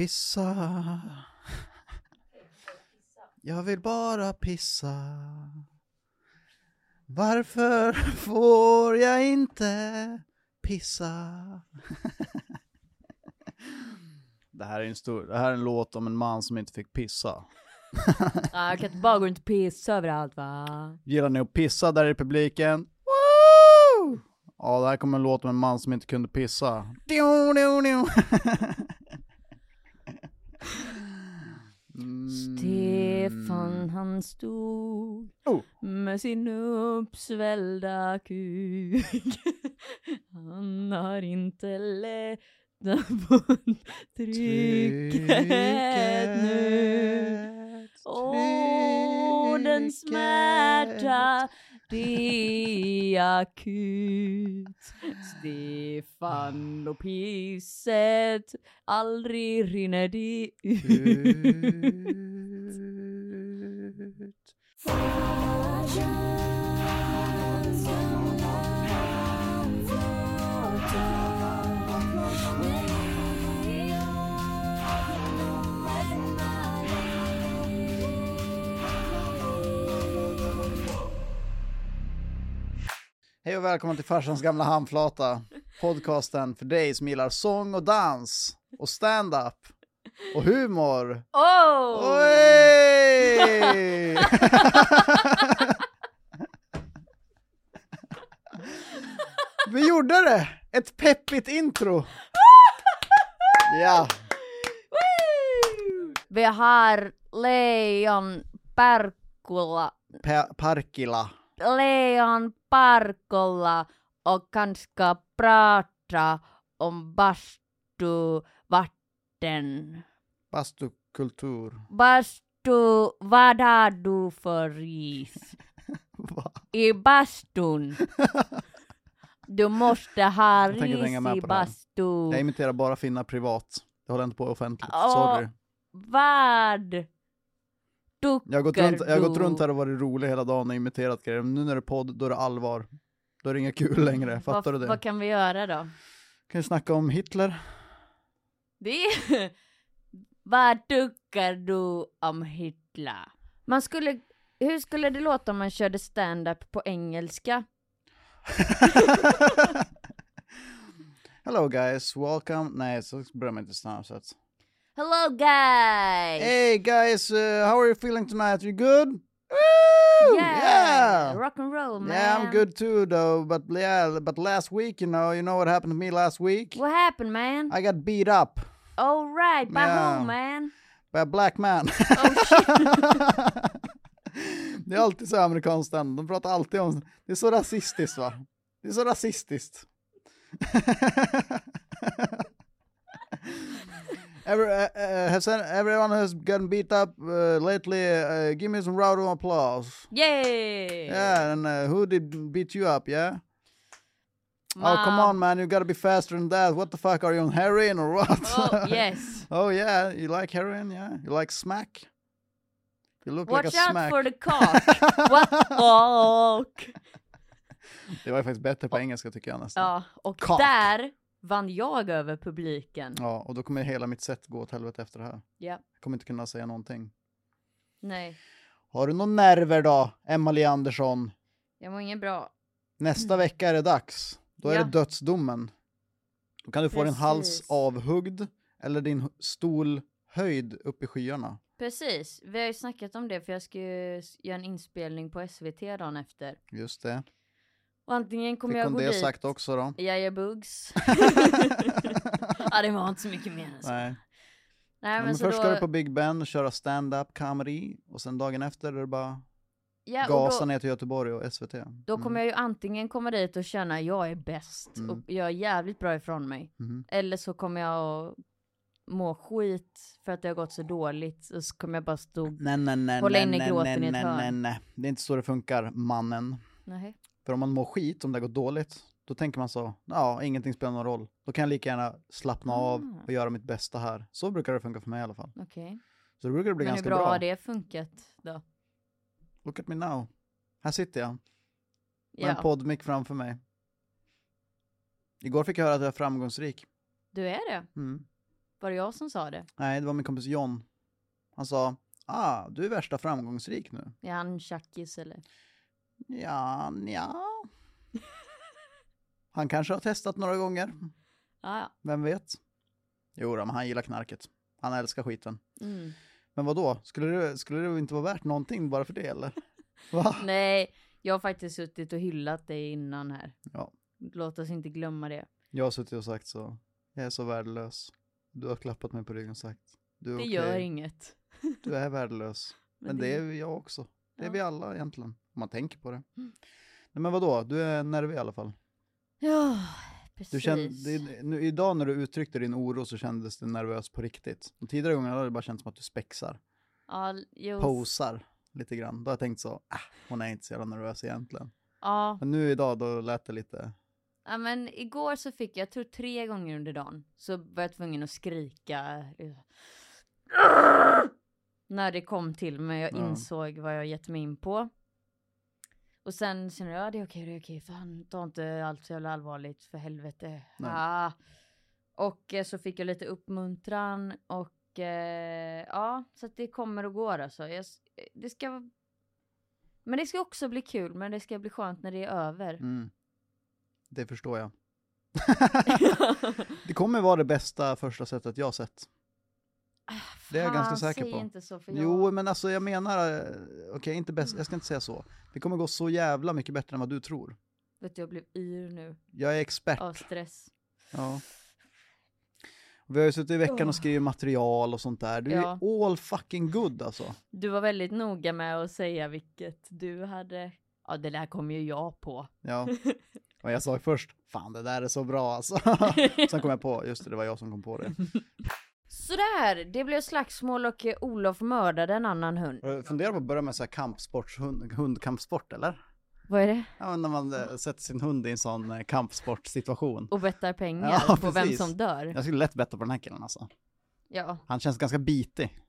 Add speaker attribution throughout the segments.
Speaker 1: Pissa. Jag vill bara pissa. Varför får jag inte pissa? Det här är en stor, det här är en låt om en man som inte fick pissa.
Speaker 2: Ah, jag kan inte bara gå runt och pissa överallt va?
Speaker 1: Gillar ni att pissa där i publiken? Woo! Ja, det här kommer en låt om en man som inte kunde pissa. Dio, dio, dio. Mm.
Speaker 2: Stefan han stod
Speaker 1: Oh.
Speaker 2: med sin uppsvällda kuk. Han har inte lättat på trycket nu. Åh, den
Speaker 1: Trycket.
Speaker 2: smärta, det är akut. Stefan och pisset, aldrig rinner det ut.
Speaker 1: Ut. Hej och välkommen till farsans gamla handflata. Podcasten för dig som gillar sång och dans och stand-up och humor.
Speaker 2: Oh!
Speaker 1: Oj! Vi gjorde det! Ett peppigt intro. Ja.
Speaker 2: Vi har Leon Parkula,
Speaker 1: Pa- Parkila.
Speaker 2: Leon Parkolla och kanske prata om bastu vatten.
Speaker 1: Bastukultur.
Speaker 2: Bastu, vad har du för ris?
Speaker 1: Va?
Speaker 2: I bastun. Du måste ha
Speaker 1: Jag tänker hänga med
Speaker 2: ris
Speaker 1: på
Speaker 2: i
Speaker 1: det här.
Speaker 2: bastun.
Speaker 1: Jag imiterar bara finna privat. Jag håller inte på offentligt.
Speaker 2: Ja.
Speaker 1: Sorry.
Speaker 2: Vad
Speaker 1: Jag har, gått runt, jag har gått
Speaker 2: du?
Speaker 1: runt här och varit rolig hela dagen och imiterat grejer. Nu när det är podd, då är det allvar. Då är det inga kul längre. Fattar
Speaker 2: vad,
Speaker 1: du det?
Speaker 2: Vad kan vi göra då?
Speaker 1: Kan vi snacka om Hitler?
Speaker 2: Det är... Vad tycker du om Hitler? Man skulle... Hur skulle det låta om man körde stand-up på engelska?
Speaker 1: Hello guys, welcome. Nej, så börjar man inte snabbt. så att-
Speaker 2: Hello guys!
Speaker 1: Hey guys, uh, how are you feeling tonight? You good? Woo!
Speaker 2: yeah! Rock and roll man!
Speaker 1: Yeah, I'm good too though, but yeah, but last week, you know, you know what happened to me last week?
Speaker 2: What happened man?
Speaker 1: I got beat up
Speaker 2: All right, by
Speaker 1: Yeah.
Speaker 2: who man?
Speaker 1: by a black man. det är alltid så amerikanskt stand, de pratar alltid om, det är så rasistiskt va? Det är så rasistiskt. Every, uh, uh, has everyone has gotten beat up uh, lately, uh, give me some round of applause.
Speaker 2: Yay!
Speaker 1: Yeah, and uh, who did beat you up, yeah? Oh, come
Speaker 2: Mom.
Speaker 1: on, man. You gotta be faster than that. What the fuck? Are you on heroin or what?
Speaker 2: Oh yes!
Speaker 1: Oh, yeah. You like heroin? Yeah. You like smack? You look
Speaker 2: Watch
Speaker 1: like a
Speaker 2: out
Speaker 1: smack.
Speaker 2: for the cock! What fuck?
Speaker 1: Det var ju faktiskt bättre på engelska tycker jag nästan. Ja.
Speaker 2: Ja, och
Speaker 1: Cock.
Speaker 2: där vann jag över publiken.
Speaker 1: och då kommer hela mitt sätt gå åt helvete efter det här.
Speaker 2: Ja,
Speaker 1: Jag kommer inte kunna säga någonting.
Speaker 2: nej.
Speaker 1: Har du någon nerver då, Emily Andersson?
Speaker 2: Jag mår inget bra.
Speaker 1: Nästa vecka är det dags. Då är
Speaker 2: Mm. Ja.
Speaker 1: det dödsdomen. Då kan du få din hals
Speaker 2: Precis.
Speaker 1: avhuggd eller din hu- stol höjd upp i skyarna.
Speaker 2: Precis, vi har ju snackat om det för jag ska ju s- göra en inspelning på SVT dagen efter.
Speaker 1: Just det.
Speaker 2: Och antingen kommer
Speaker 1: Fick
Speaker 2: jag
Speaker 1: hon
Speaker 2: gå
Speaker 1: det
Speaker 2: dit.
Speaker 1: sagt också då?
Speaker 2: Jag gör bugs. ja det var inte så mycket mer än så.
Speaker 1: Nej.
Speaker 2: Nej
Speaker 1: Ja,
Speaker 2: men,
Speaker 1: men
Speaker 2: så
Speaker 1: först
Speaker 2: då,
Speaker 1: ska du på Big Ben och köra stand-up comedy och sen dagen efter är det bara
Speaker 2: ja, och
Speaker 1: gasa
Speaker 2: då,
Speaker 1: ner till Göteborg och SVT.
Speaker 2: då kommer jag ju antingen komma dit och känna jag är bäst
Speaker 1: Mm.
Speaker 2: och gör jävligt bra ifrån mig.
Speaker 1: Mhm.
Speaker 2: Eller så kommer jag att må skit för att det har gått så dåligt och så kommer jag bara stå...
Speaker 1: Mm. Nej, nej, nej,
Speaker 2: Hålla
Speaker 1: nej,
Speaker 2: inne
Speaker 1: nej,
Speaker 2: gråten i
Speaker 1: nej,
Speaker 2: ett
Speaker 1: nej,
Speaker 2: hörn.
Speaker 1: nej, nej. Det är inte så det funkar, mannen.
Speaker 2: Nej.
Speaker 1: För om man mår skit, om det har gått dåligt, då tänker man så, ja, ingenting spelar någon roll. Då kan jag lika gärna slappna av
Speaker 2: Ah.
Speaker 1: och göra mitt bästa här. Så brukar det funka för mig i alla fall.
Speaker 2: Okej.
Speaker 1: Så det brukar det bli
Speaker 2: Men hur
Speaker 1: ganska
Speaker 2: bra,
Speaker 1: bra.
Speaker 2: har det funkat då?
Speaker 1: Look at me now. Här sitter jag, med en
Speaker 2: Ja,
Speaker 1: poddmick framför mig. Igår fick jag höra att jag är framgångsrik.
Speaker 2: du är det.
Speaker 1: Mm.
Speaker 2: Var det jag som sa det?
Speaker 1: Nej, det var min kompis John. Han sa, ah, du är värsta framgångsrik nu.
Speaker 2: Är han tjackis eller?
Speaker 1: Ja, ja. Han kanske har testat några gånger,
Speaker 2: Ja, ja.
Speaker 1: vem vet? Jo, då, men han gillar knarket. Han älskar skiten.
Speaker 2: Mm.
Speaker 1: Men vad då? skulle det, skulle det inte vara värt någonting bara för det eller? Va?
Speaker 2: Nej, jag har faktiskt suttit och hyllat dig innan här.
Speaker 1: Ja.
Speaker 2: Låt oss inte glömma det.
Speaker 1: Jag har suttit och sagt så, jag är så värdelös. Du har klappat mig på ryggen och sagt, du är
Speaker 2: Det
Speaker 1: okej,
Speaker 2: gör inget.
Speaker 1: du är värdelös. Men det är jag också. Det är
Speaker 2: Ja.
Speaker 1: vi alla egentligen, om man tänker på det.
Speaker 2: Mm.
Speaker 1: Nej, men vad då? du är nervig i alla fall.
Speaker 2: Ja, precis.
Speaker 1: Du kände, det, nu, idag när du uttryckte din oro så kändes det nervös på riktigt. De tidigare gångerna har det bara känts som att du spexar,
Speaker 2: Ja, jo.
Speaker 1: posar lite grann. Då har jag tänkt så, ah, hon är inte så jävla nervös egentligen.
Speaker 2: Ja.
Speaker 1: Men nu idag då lät det lite,
Speaker 2: ja, men igår så fick jag, jag tror tre gånger under dagen, så var jag tvungen att skrika. När det kom till mig, jag
Speaker 1: Ja.
Speaker 2: insåg vad jag gett mig in på. Och sen kände jag, ja det är okej, det är okej, fan ta inte allt så jävla allvarligt, för helvete.
Speaker 1: Nej.
Speaker 2: Ah. Och eh, så fick jag lite uppmuntran och eh, ja, så att det kommer och går alltså. Jag, s- det ska... Men det ska också bli kul, men det ska bli skönt när det är över.
Speaker 1: mm. Det förstår jag. det kommer vara det bästa första sättet jag har sett. Det är jag ganska
Speaker 2: Ah, Fan,
Speaker 1: säker
Speaker 2: säg
Speaker 1: på.
Speaker 2: inte så för jag...
Speaker 1: Jo, men alltså jag menar, eh, okej, inte bäst, jag ska inte säga så. Det kommer gå så jävla mycket bättre än vad du tror.
Speaker 2: Vet du, jag blev yr nu
Speaker 1: Jag är expert.
Speaker 2: av stress.
Speaker 1: Ja. Och Vi har ju suttit i veckan
Speaker 2: Åh.
Speaker 1: och skrivit material och sånt där. Du
Speaker 2: Ja.
Speaker 1: är all fucking good alltså.
Speaker 2: Du var väldigt noga med att säga vilket du hade. Ja, det där kom ju jag på.
Speaker 1: Ja. Och jag sa först, fan det där är så bra alltså. Sen kom jag på, just det, det var jag som kom på det.
Speaker 2: Sådär, det blev slagsmål och eh, Olof mördade en annan hund.
Speaker 1: Har du funderat på att börja med så här kampsport, hund, hundkampsport eller?
Speaker 2: Vad är det?
Speaker 1: Ja, men när man eh, sätter sin hund i en sån eh, kampsportsituation.
Speaker 2: Och bettar pengar
Speaker 1: Ja,
Speaker 2: på vem
Speaker 1: precis.
Speaker 2: som dör.
Speaker 1: Jag skulle lätt betta på den här killen alltså.
Speaker 2: Ja,
Speaker 1: Han känns ganska bitig.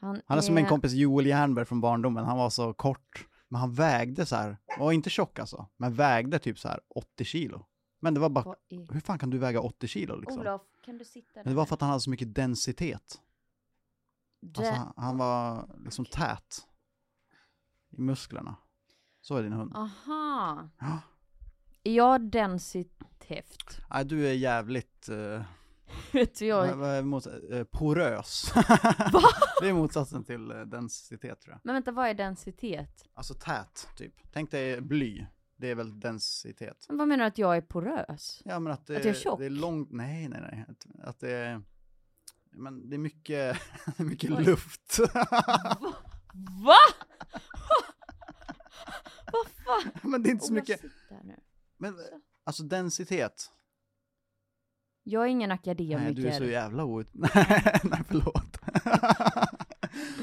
Speaker 2: han,
Speaker 1: Han är som en kompis Joel Jernberg från barndomen, han var så kort. Men han vägde så här, och inte tjock alltså, men vägde typ så här 80 kilo. Men det var bara,
Speaker 2: Vad är-
Speaker 1: hur fan kan du väga 80 kilo liksom?
Speaker 2: Olof, kan du sitta där?
Speaker 1: Men det var för att han hade så mycket densitet.
Speaker 2: Det-
Speaker 1: Alltså, han, han var liksom tät i musklerna. Så är din hund.
Speaker 2: Aha.
Speaker 1: Ja.
Speaker 2: Är jag densithäft?
Speaker 1: Nej, du är jävligt, eh,
Speaker 2: Vet du, jag...
Speaker 1: vad- vad är mot, eh, porös. det är motsatsen till eh, densitet tror jag.
Speaker 2: Men vänta, vad är densitet?
Speaker 1: Alltså tät, typ. Tänk dig bly, det är väl densitet.
Speaker 2: Men vad menar du att jag är porös?
Speaker 1: Ja, men att det,
Speaker 2: Att jag är tjock?
Speaker 1: det är långt, nej, nej, nej. Att, att det är, men det är mycket, mycket
Speaker 2: Oj.
Speaker 1: luft.
Speaker 2: Va? Vad fan? Oh
Speaker 1: men det är inte så
Speaker 2: Olof,
Speaker 1: mycket,
Speaker 2: sitt där nu.
Speaker 1: men alltså densitet.
Speaker 2: Jag är ingen
Speaker 1: Nej,
Speaker 2: akademiker.
Speaker 1: du är så jävla out. Nej, nej, förlåt.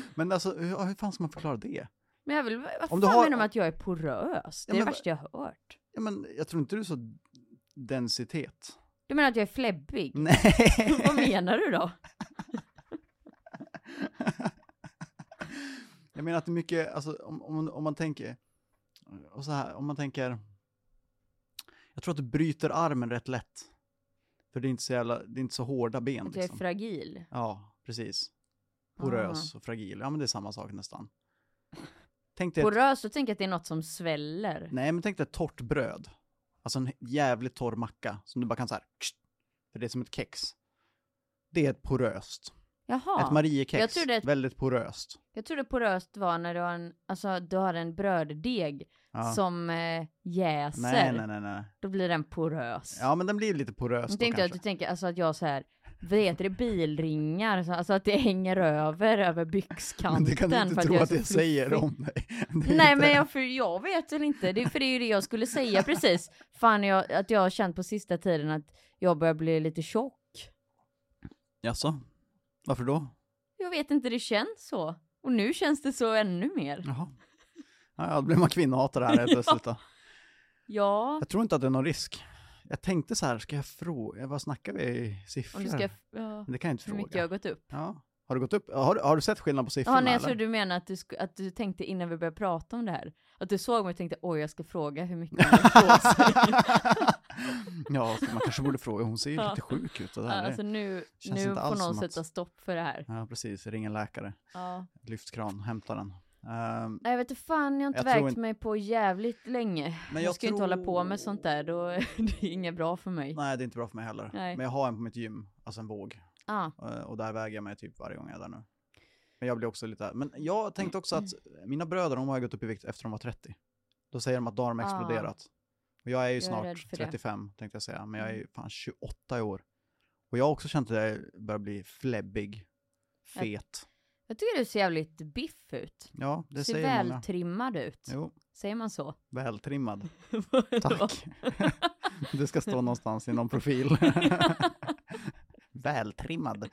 Speaker 1: men alltså, hur, hur fan ska man förklara det?
Speaker 2: Men jag vill, vad
Speaker 1: Om
Speaker 2: Om
Speaker 1: du
Speaker 2: fan
Speaker 1: har-
Speaker 2: menar du med att jag är porös? Det
Speaker 1: Ja,
Speaker 2: är
Speaker 1: men-
Speaker 2: det värsta jag har hört.
Speaker 1: Ja, men jag tror inte du är så densitet.
Speaker 2: Du menar att jag är fläbbig?
Speaker 1: Nej.
Speaker 2: vad menar du då?
Speaker 1: Jag menar att det är mycket, alltså om, om, man- om man tänker, och så här, om man tänker, jag tror att du bryter armen rätt lätt. För det är inte så jävla, det är inte så hårda ben
Speaker 2: Att jag är
Speaker 1: liksom.
Speaker 2: fragil?
Speaker 1: Ja, precis.
Speaker 2: Ah.
Speaker 1: Porös och fragil, ja men det är samma sak nästan. Tänk dig, ett,
Speaker 2: Porös, då tänker jag att det är något som sväller.
Speaker 1: nej men tänk dig ett torrt bröd. Alltså en jävligt torr macka som du bara kan så här, kst, för det är som ett kex. Det är ett poröst. Ett
Speaker 2: Jaha.
Speaker 1: Mariekex,
Speaker 2: Jag trodde att-
Speaker 1: väldigt poröst.
Speaker 2: Jag trodde poröst var när du har en, alltså, du har en bröddeg
Speaker 1: Ja.
Speaker 2: som eh, jäser.
Speaker 1: Nej, nej, nej, nej.
Speaker 2: Då blir den porös.
Speaker 1: Ja, men den blir lite
Speaker 2: Nu
Speaker 1: porös då
Speaker 2: tänkte jag att
Speaker 1: kanske.
Speaker 2: du tänker alltså att jag så här, vad heter det, bilringar, så- alltså att det hänger över över byxkanten.
Speaker 1: Men det kan du
Speaker 2: för
Speaker 1: inte tro
Speaker 2: är
Speaker 1: att
Speaker 2: så
Speaker 1: jag säger
Speaker 2: fluffig.
Speaker 1: om dig. Det är
Speaker 2: Nej
Speaker 1: inte-
Speaker 2: men jag, för jag vet väl inte, det, för det är ju det jag skulle säga precis. Fan jag, att jag har känt på sista tiden att jag börjar bli lite tjock.
Speaker 1: Jaså? Varför då?
Speaker 2: Jag vet inte, det känns så. Och nu känns det så ännu mer.
Speaker 1: Jaha. Ja, då blir man kvinnohatare här helt plötsligt då.
Speaker 2: Ja,
Speaker 1: Jag tror inte att det är någon risk. Jag tänkte så här, ska jag fråga, vad snackar vi i siffror?
Speaker 2: om du ska, ja,
Speaker 1: Men det kan jag inte
Speaker 2: hur
Speaker 1: fråga.
Speaker 2: mycket jag har gått upp.
Speaker 1: Ja. Har du gått upp? Har, du- har du sett skillnad på siffrorna?
Speaker 2: Jaha, nej, jag
Speaker 1: eller?
Speaker 2: tror du menar att du, sk- att du tänkte innan vi började prata om det här. Att du såg mig och tänkte oj, jag ska fråga hur mycket hon har på sig.
Speaker 1: ja, man kanske borde fråga. Hon ser ju
Speaker 2: Ja.
Speaker 1: lite sjuk ut. Och
Speaker 2: Ja,
Speaker 1: där.
Speaker 2: alltså nu,
Speaker 1: känns
Speaker 2: nu
Speaker 1: inte
Speaker 2: får
Speaker 1: alls
Speaker 2: någon
Speaker 1: som att-
Speaker 2: sätta stopp för det här.
Speaker 1: Ja, precis. Ring en läkare.
Speaker 2: Ja.
Speaker 1: Lyft kran, hämta den. Ehm,
Speaker 2: Nej, jag vet inte fan, jag har inte
Speaker 1: Jag tror
Speaker 2: vägt
Speaker 1: inte-
Speaker 2: mig på jävligt länge.
Speaker 1: men
Speaker 2: jag ska ju inte hålla på med sånt där, då det är inget bra för mig.
Speaker 1: Nej, det är inte bra för mig heller.
Speaker 2: Nej.
Speaker 1: Men jag har en på mitt gym, alltså en våg.
Speaker 2: Ja,
Speaker 1: Eh, Och där väger jag mig typ varje gång jag är där nu. Men jag blir också lite... Men jag tänkte också att mina bröder, de har ju gått upp i vikt efter de var 30. Då säger de att då har de
Speaker 2: Ah.
Speaker 1: exploderat. Och jag är ju
Speaker 2: är
Speaker 1: snart
Speaker 2: rädd för det.
Speaker 1: 35, tänkte jag säga. Men jag är
Speaker 2: Mm.
Speaker 1: ju fan 28 i år. Och jag har också känt att jag börjar bli fläbbig,
Speaker 2: Jag-
Speaker 1: fet.
Speaker 2: jag tycker du ser jävligt biff ut.
Speaker 1: Ja, det
Speaker 2: Du ser
Speaker 1: säger många.
Speaker 2: vältrimmad ut.
Speaker 1: Jo,
Speaker 2: Säger man så?
Speaker 1: vältrimmad.
Speaker 2: Vad-
Speaker 1: Tack. Det ska stå någonstans i någon profil. Vältrimmad.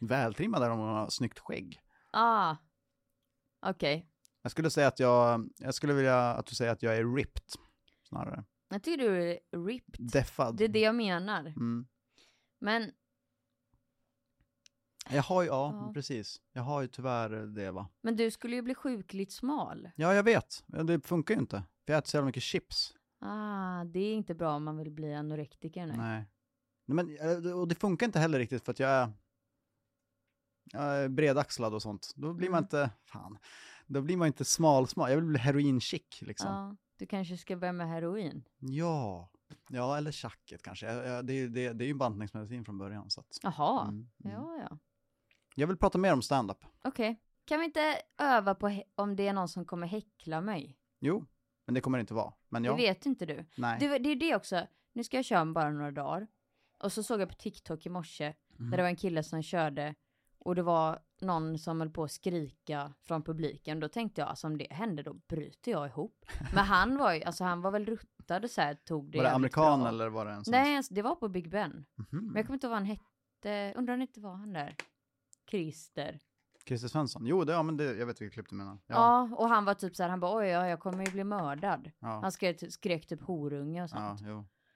Speaker 1: Vältrimmad är om man har snyggt skägg.
Speaker 2: ah. Okej.
Speaker 1: Jag skulle säga att jag, jag skulle vilja att du säger att jag är ripped. Snarare.
Speaker 2: Jag tycker du är ripped.
Speaker 1: Deffad.
Speaker 2: Det är det jag menar.
Speaker 1: Mm.
Speaker 2: Men
Speaker 1: Jag har ju, ja,
Speaker 2: Ja.
Speaker 1: precis. Jag har ju tyvärr det va.
Speaker 2: Men du skulle ju bli sjukligt smal.
Speaker 1: Ja, jag vet. Men Det funkar ju inte. För jag äter så jävla mycket chips.
Speaker 2: Ah, det är inte bra om man vill bli anorektiker. Nej.
Speaker 1: Nej. Nej, men, eh, och det funkar inte heller riktigt för att jag är, jag är bredaxlad och sånt. Då blir man
Speaker 2: Mm.
Speaker 1: inte, fan, då blir man inte smal, smal. Jag vill bli heroin-chic liksom. Ja.
Speaker 2: Ja, du kanske ska börja med heroin.
Speaker 1: ja. eller tjacket kanske. Jag- jag- Det är, ju- det, det är ju en bantningsmedicin från början. Så att,
Speaker 2: Jaha.
Speaker 1: mm, mm.
Speaker 2: Ja, ja.
Speaker 1: Jag vill prata mer om stand-up.
Speaker 2: Okej. Kan vi inte öva på hä- om det är någon som kommer häckla mig?
Speaker 1: Jo, men det kommer det inte vara. Men ja,
Speaker 2: Det vet inte du.
Speaker 1: nej.
Speaker 2: Det, det är det också. Nu ska jag köra om bara några dagar. Och så såg jag på TikTok i morse
Speaker 1: Mhm.
Speaker 2: där det var en kille som körde och det var någon som höll på att skrika från publiken. Då tänkte jag alltså om det händer då bryter jag ihop. Men han var ju, alltså han var väl ruttad och så här tog det
Speaker 1: var det
Speaker 2: jävligt
Speaker 1: amerikan
Speaker 2: bra.
Speaker 1: eller var det en sån?
Speaker 2: Nej, alltså, det var på Big Ben. Men jag
Speaker 1: Mhm.
Speaker 2: kommer inte ihåg vad han hette. Undrar om det inte var han där. Christer.
Speaker 1: Christer Svensson? Jo, det, ja, men det, jag vet vilket klipp du menar.
Speaker 2: Ja. och han var typ så här, han bara oj, ja, jag kommer ju bli mördad.
Speaker 1: ja.
Speaker 2: Han skrek, skrek typ horunge och
Speaker 1: Ja,
Speaker 2: sånt.
Speaker 1: jo.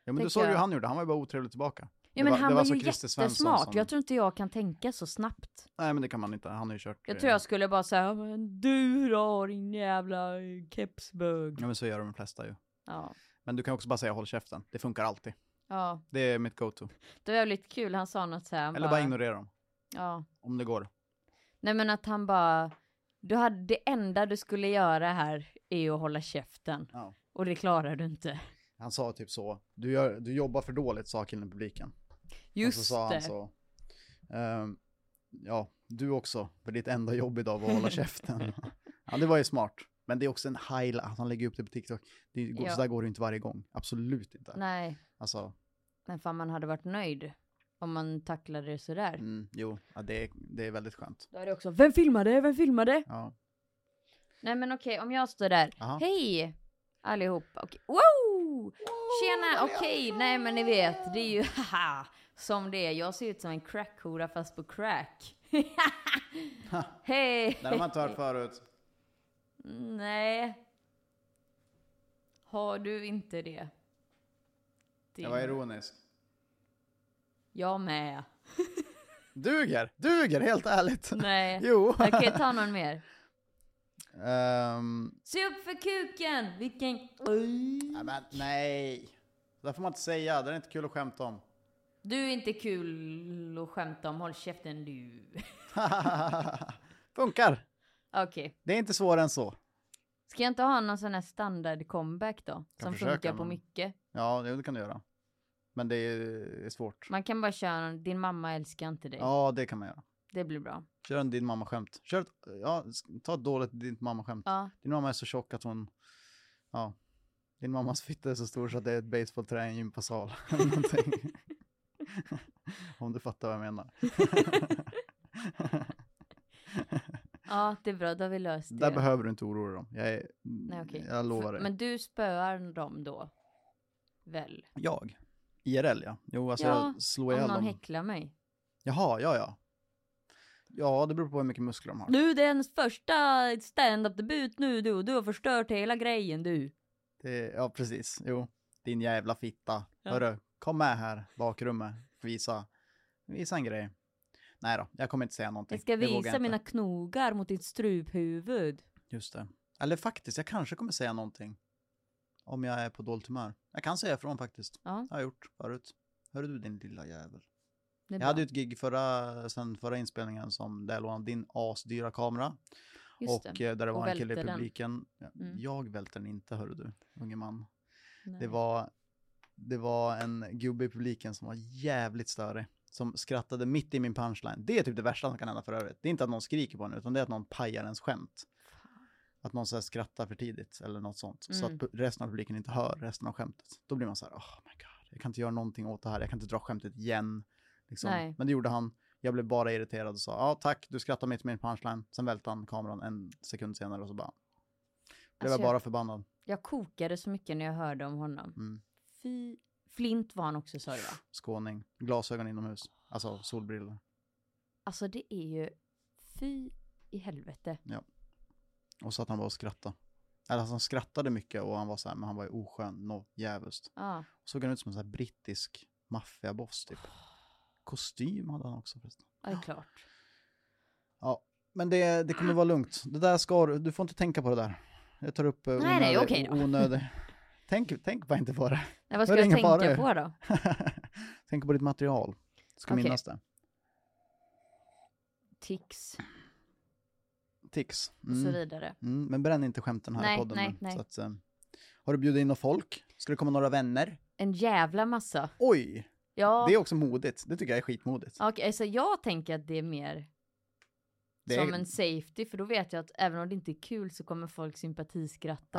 Speaker 1: Ja, men du
Speaker 2: Tänker
Speaker 1: såg ju hur
Speaker 2: jag-
Speaker 1: han gjorde, han var ju bara otrevlig tillbaka.
Speaker 2: Ja, men
Speaker 1: var-
Speaker 2: han
Speaker 1: det
Speaker 2: var,
Speaker 1: var så
Speaker 2: ju
Speaker 1: Christer Svensson
Speaker 2: jättesmart.
Speaker 1: som-
Speaker 2: Jag tror inte jag kan tänka så snabbt.
Speaker 1: Nej men det kan man inte, han har ju kört.
Speaker 2: Jag
Speaker 1: eh,
Speaker 2: tror jag skulle bara säga, men du då din jävla eh, kepsbög.
Speaker 1: Ja men så gör de flesta ju.
Speaker 2: Ja.
Speaker 1: Men du kan också bara säga håll käften, det funkar alltid.
Speaker 2: ja,
Speaker 1: Det är mitt go-to.
Speaker 2: det var jävligt kul. Han sa något så här. han
Speaker 1: Eller bara ignorera dem,
Speaker 2: ja.
Speaker 1: om det går.
Speaker 2: Nej men att han bara, du hade, det enda du skulle göra här är ju att hålla käften.
Speaker 1: Ja.
Speaker 2: Och det klarar du inte.
Speaker 1: Han sa typ så, du, gör, du jobbar för dåligt sa killen i publiken.
Speaker 2: Just
Speaker 1: och så sa
Speaker 2: det.
Speaker 1: han så, ehm, ja du också, för ditt enda jobb idag var att hålla käften. ja det var ju smart. Men det är också en highlight, att han lägger upp det på TikTok. Det går,
Speaker 2: Ja.
Speaker 1: Så där går det inte varje gång, absolut inte.
Speaker 2: Nej,
Speaker 1: Alltså,
Speaker 2: men fan man hade varit nöjd om man tacklade det sådär.
Speaker 1: mm, jo, ja, det, är, det är väldigt skönt.
Speaker 2: Då är det också, vem filmade? Vem filmade?
Speaker 1: Ja.
Speaker 2: Nej men okej, om jag står där.
Speaker 1: Aha.
Speaker 2: Hej allihop. Okej. Wow! Tjena, okej, nej men ni vet, det är ju haha som det är. Jag ser ut som en crackhora fast på crack. Hej!
Speaker 1: Det har man inte hört förut.
Speaker 2: Nej. Har du inte det?
Speaker 1: Jag var ironisk.
Speaker 2: Jag med.
Speaker 1: Duger, duger helt ärligt.
Speaker 2: Nej.
Speaker 1: Jo.
Speaker 2: Okej, ta någon mer.
Speaker 1: Ehm,
Speaker 2: Se upp för kuken! Vilken...
Speaker 1: nej, men, nej. Det där får man inte säga, det är inte kul att skämta om.
Speaker 2: Du är inte kul att skämta om, håll käften du.
Speaker 1: Funkar.
Speaker 2: Okej.
Speaker 1: Det är inte svårare än så.
Speaker 2: Ska jag inte ha någon sån här standard comeback då? som
Speaker 1: försöka,
Speaker 2: funkar på
Speaker 1: men-
Speaker 2: mycket.
Speaker 1: Ja, det det kan du göra. Men det är, är svårt.
Speaker 2: Man kan bara köra någon, din mamma älskar inte dig.
Speaker 1: Ja, det kan man göra.
Speaker 2: Det blir bra.
Speaker 1: Kör en din mamma-skämt. Kör ett, ja, s- ta ett dåligt din mamma-skämt.
Speaker 2: Ja.
Speaker 1: Din mamma är så tjock att hon... Ja. Din mammas fitta är så stor så att det är ett basebollträ i en gympasal. eller någonting. Om du fattar vad jag menar.
Speaker 2: ja, det är bra. Då har vi löst det.
Speaker 1: Där behöver du inte oroa dig om. Jag, är,
Speaker 2: Nej, okej.
Speaker 1: jag lovar
Speaker 2: F-
Speaker 1: dig.
Speaker 2: Men du spöar dem då? Väl?
Speaker 1: Jag? IRL ja. Jo, alltså
Speaker 2: Ja,
Speaker 1: jag slår
Speaker 2: Om
Speaker 1: ihjäl
Speaker 2: någon
Speaker 1: dem.
Speaker 2: häcklar mig?
Speaker 1: Jaha, ja ja. Ja, det beror på hur mycket muskler de har.
Speaker 2: Du, det är ens första stand-up-debut nu du. Du har förstört hela grejen du.
Speaker 1: Det, ja, precis. Jo. Din jävla fitta.
Speaker 2: Ja.
Speaker 1: Hörru, kom med här, bakrummet. Visa. Visa en grej. Nej då, jag kommer inte säga någonting.
Speaker 2: Jag
Speaker 1: Det
Speaker 2: ska
Speaker 1: vågar
Speaker 2: visa
Speaker 1: jag inte.
Speaker 2: mina knogar mot ditt struphuvud.
Speaker 1: Just det. Eller faktiskt, jag kanske kommer säga någonting. Om jag är på dåligt humör. Jag kan säga ifrån faktiskt.
Speaker 2: Ja.
Speaker 1: Det har jag gjort förut. Hör du din lilla jävel.
Speaker 2: Det
Speaker 1: Jag
Speaker 2: är bra.
Speaker 1: hade ju ett gig förra, sen förra inspelningen som där jag lånade din asdyra kamera.
Speaker 2: Just
Speaker 1: och eh, där det
Speaker 2: Och
Speaker 1: var en kille i
Speaker 2: välte den.
Speaker 1: publiken. Ja,
Speaker 2: Mm.
Speaker 1: Jag välte den inte, hörru du, unge man.
Speaker 2: Nej.
Speaker 1: Det var, det var en gubbe i publiken som var jävligt störig. Som skrattade mitt i min punchline. Det är typ det värsta som kan hända för övrigt. Det är inte att någon skriker på en, utan det är att någon pajar ens skämt.
Speaker 2: Fan.
Speaker 1: Att någon så här skrattar för tidigt eller något sånt. Så
Speaker 2: Mm.
Speaker 1: att pu- resten av publiken inte hör resten av skämtet. Då blir man så här, oh my god, jag kan inte göra någonting åt det här. Jag kan inte dra skämtet igen. Liksom.
Speaker 2: Nej.
Speaker 1: Men det gjorde han. Jag blev bara irriterad och sa, ja tack, du skrattar mitt i min punchline. Sen välte han kameran en sekund senare och så bara, blev
Speaker 2: Alltså,
Speaker 1: jag
Speaker 2: jag-
Speaker 1: bara förbannad.
Speaker 2: Jag kokade så mycket när jag hörde om honom.
Speaker 1: Mm.
Speaker 2: Fy... Flint var han också sa du va?
Speaker 1: Skåning, glasögon inomhus, alltså solbrillor.
Speaker 2: Alltså det är ju... Fy i helvete.
Speaker 1: Och så att han bara skrattade. Eller alltså, han skrattade mycket och han var så här, men han var ju oskön, nå jävligt.
Speaker 2: Ja.
Speaker 1: Såg han ut som en sån här brittisk maffiaboss typ. Kostym hade han också förresten.
Speaker 2: Ja, det är klart.
Speaker 1: Men det, det kommer vara lugnt. Det där ska du, du får inte tänka på det där. Jag tar upp eh,
Speaker 2: Nej, nej, okej då.
Speaker 1: onödig. Tänk, tänk bara inte på det.
Speaker 2: Nej, vad
Speaker 1: Då är
Speaker 2: ska
Speaker 1: det
Speaker 2: jag
Speaker 1: ingen
Speaker 2: tänka
Speaker 1: fara ju.
Speaker 2: på då?
Speaker 1: tänk på ditt material. Ska
Speaker 2: Okej.
Speaker 1: minnas det.
Speaker 2: Tics
Speaker 1: Tics.
Speaker 2: och så
Speaker 1: Mm.
Speaker 2: vidare.
Speaker 1: Mm, men bränn inte skämten här
Speaker 2: Nej,
Speaker 1: i podden
Speaker 2: nej,
Speaker 1: nu.
Speaker 2: nej.
Speaker 1: Så att, eh, har du bjudit in några folk? Ska det komma några vänner?
Speaker 2: En jävla massa.
Speaker 1: Oj,
Speaker 2: Ja.
Speaker 1: det är också modigt. Det tycker jag är skitmodigt.
Speaker 2: Okej, så jag tänker att det är mer
Speaker 1: det är,
Speaker 2: som en safety, för då vet jag att även om det inte är kul så kommer folk sympatiskratta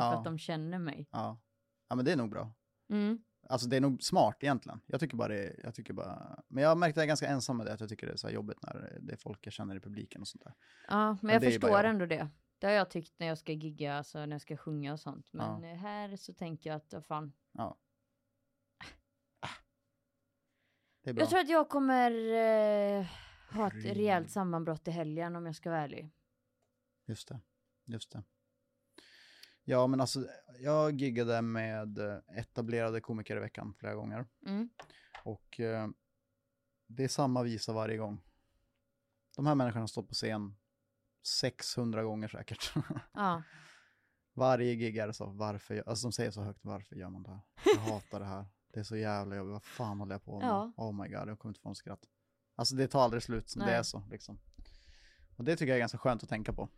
Speaker 1: Ja.
Speaker 2: för att de känner mig.
Speaker 1: ja. ja, men det är nog bra.
Speaker 2: Mm.
Speaker 1: Alltså det är nog smart egentligen. Jag tycker bara det, jag tycker bara, men jag har märkt att jag är ganska ensam med det, att jag tycker det är så här jobbigt när det är folk jag känner i publiken och sånt där.
Speaker 2: Ja, men,
Speaker 1: Men
Speaker 2: jag
Speaker 1: det är ju bara
Speaker 2: förstår
Speaker 1: jag.
Speaker 2: ändå det. Det har jag tyckt när jag ska gigga, alltså när jag ska sjunga och sånt. Men
Speaker 1: Ja.
Speaker 2: eh, här så tänker jag att, vad fan.
Speaker 1: Det är bra.
Speaker 2: Jag tror att jag kommer eh, ha ett
Speaker 1: Rymd.
Speaker 2: rejält sammanbrott i helgen om jag ska vara ärlig.
Speaker 1: Just det, just det. Ja, men alltså jag giggade med eh, etablerade komiker i veckan flera gånger
Speaker 2: Mm.
Speaker 1: och eh, det är samma visa varje gång. De här människorna står på scen 600 gånger säkert.
Speaker 2: Ja.
Speaker 1: Varje gig är det så, varför, gör- alltså de säger så högt, varför gör man det här? Jag hatar det här. Det är så jävla jobbigt, vad fan håller jag på med?
Speaker 2: Ja.
Speaker 1: Oh my god, jag kommer inte få en skratt. Alltså det tar aldrig slut, det
Speaker 2: Nej.
Speaker 1: är så liksom. Och det tycker jag är ganska skönt att tänka på.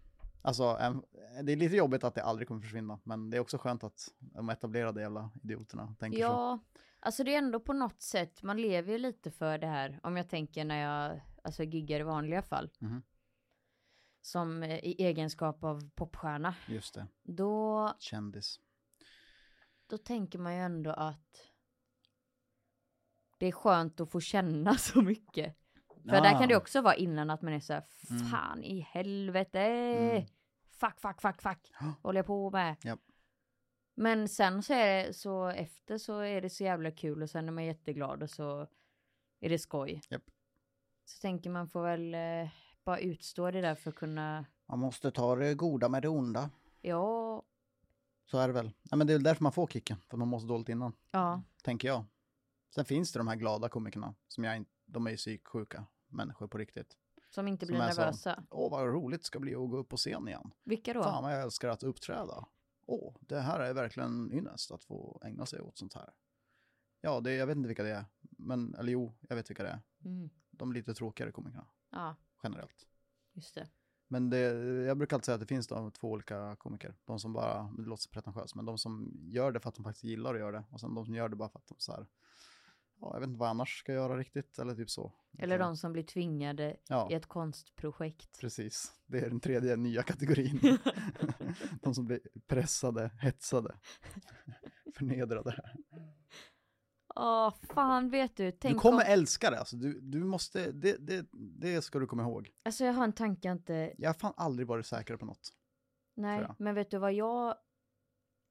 Speaker 1: Alltså, äm, det är lite jobbigt att det aldrig kommer försvinna, men det är också skönt att de etablerade jävla idioterna tänker så.
Speaker 2: ja, alltså det är ändå på något sätt, man lever ju lite för det här. Om jag tänker när jag alltså, giggar i vanliga fall.
Speaker 1: Mhm.
Speaker 2: Som eh, i egenskap av popstjärna.
Speaker 1: Just det,
Speaker 2: Då
Speaker 1: kändis.
Speaker 2: då tänker man ju ändå att det är skönt att få känna så mycket. För där kan det också vara innan att man är så här,
Speaker 1: Mm.
Speaker 2: fan i helvete,
Speaker 1: Mm.
Speaker 2: fuck, fuck, fuck, fuck,
Speaker 1: Ja.
Speaker 2: håller jag på med.
Speaker 1: Japp.
Speaker 2: Men sen så är det så efter så är det så jävla kul och sen är man jätteglad och så är det skoj.
Speaker 1: Japp.
Speaker 2: Så tänker man får väl eh, bara utstå det där för att kunna,
Speaker 1: Man måste ta det goda med det onda. Mm.
Speaker 2: ja,
Speaker 1: Så är det väl. Ja, men det är väl därför man får kicken, för man måste dåligt innan.
Speaker 2: ja,
Speaker 1: tänker jag. Sen finns det de här glada komikerna, som jag inte, de är ju psyksjuka människor på riktigt.
Speaker 2: som inte
Speaker 1: Som
Speaker 2: blir
Speaker 1: är så.
Speaker 2: nervösa.
Speaker 1: Åh, vad roligt det ska bli att gå upp på scen igen.
Speaker 2: Vilka då?
Speaker 1: Fan vad jag älskar att uppträda. Åh, det här är verkligen ynnest att få ägna sig åt sånt här. Ja, det, jag vet inte vilka det är, men, eller jo, jag vet vilka det är.
Speaker 2: Mm.
Speaker 1: De lite tråkigare komikerna,
Speaker 2: Ja,
Speaker 1: generellt.
Speaker 2: just det.
Speaker 1: Men det, jag brukar alltid säga att det finns de, två olika komiker. De som bara, det låter så pretentiöst, men de som gör det för att de faktiskt gillar att göra det. Och sen de som gör det bara för att de så här, ja, jag vet inte vad jag annars ska göra riktigt, eller typ så.
Speaker 2: Eller de som blir tvingade
Speaker 1: Ja,
Speaker 2: i ett konstprojekt.
Speaker 1: precis. Det är den tredje nya kategorin. de som blir pressade, hetsade, förnedrade.
Speaker 2: Åh, fan vet du. Tänk
Speaker 1: du kommer
Speaker 2: om...
Speaker 1: älska det, alltså. Du, du måste, det, det, det ska du komma ihåg.
Speaker 2: Alltså jag har en tanke jag inte...
Speaker 1: Jag har fan aldrig varit säker på något.
Speaker 2: Nej,
Speaker 1: jag.
Speaker 2: men vet du vad jag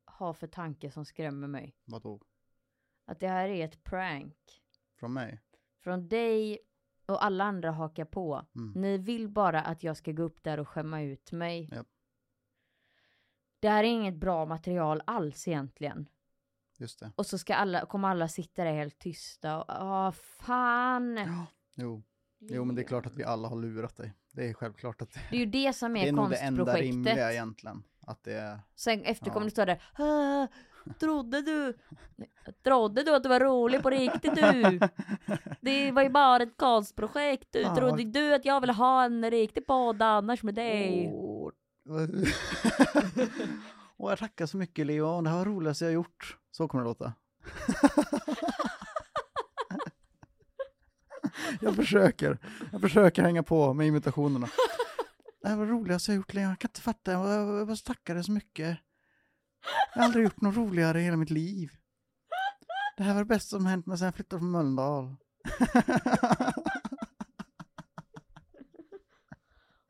Speaker 2: har för tanke som skrämmer mig?
Speaker 1: Vadå?
Speaker 2: Att det här är ett prank.
Speaker 1: Från mig?
Speaker 2: Från dig och alla andra hakar på.
Speaker 1: Mm.
Speaker 2: Ni vill bara att jag ska gå upp där och skämma ut mig.
Speaker 1: Japp.
Speaker 2: Det här är inget bra material alls egentligen.
Speaker 1: Just det.
Speaker 2: Och så ska alla, kommer alla sitta där helt tysta och ah fan.
Speaker 1: Jo, Jo, men det är klart att vi alla har lurat dig. Det är självklart att det,
Speaker 2: Det är ju det som är,
Speaker 1: det är nog det enda rimliga
Speaker 2: konstprojektet.
Speaker 1: egentligen. Att det är,
Speaker 2: Sen efter
Speaker 1: Ja.
Speaker 2: kommer du stå där. "Ah, Trodde du, trodde du att du var rolig på riktigt du? Det var ju bara ett konstprojekt du.
Speaker 1: Fan,
Speaker 2: Trodde
Speaker 1: vad-
Speaker 2: du att jag ville ha en riktig podd annars med dig?
Speaker 1: Åh, vad- Åh, jag tackar så mycket Leon, det här var det roligaste jag gjort. Så kommer det låta. jag försöker, jag försöker hänga på med imitationerna. Det här var det roligaste jag gjort Leon, jag kan inte fatta, jag jag- jag bara tackar dig så mycket. Jag har aldrig gjort något roligare i hela mitt liv. Det här var det bästa som hänt mig sedan jag flyttade från Mölndal.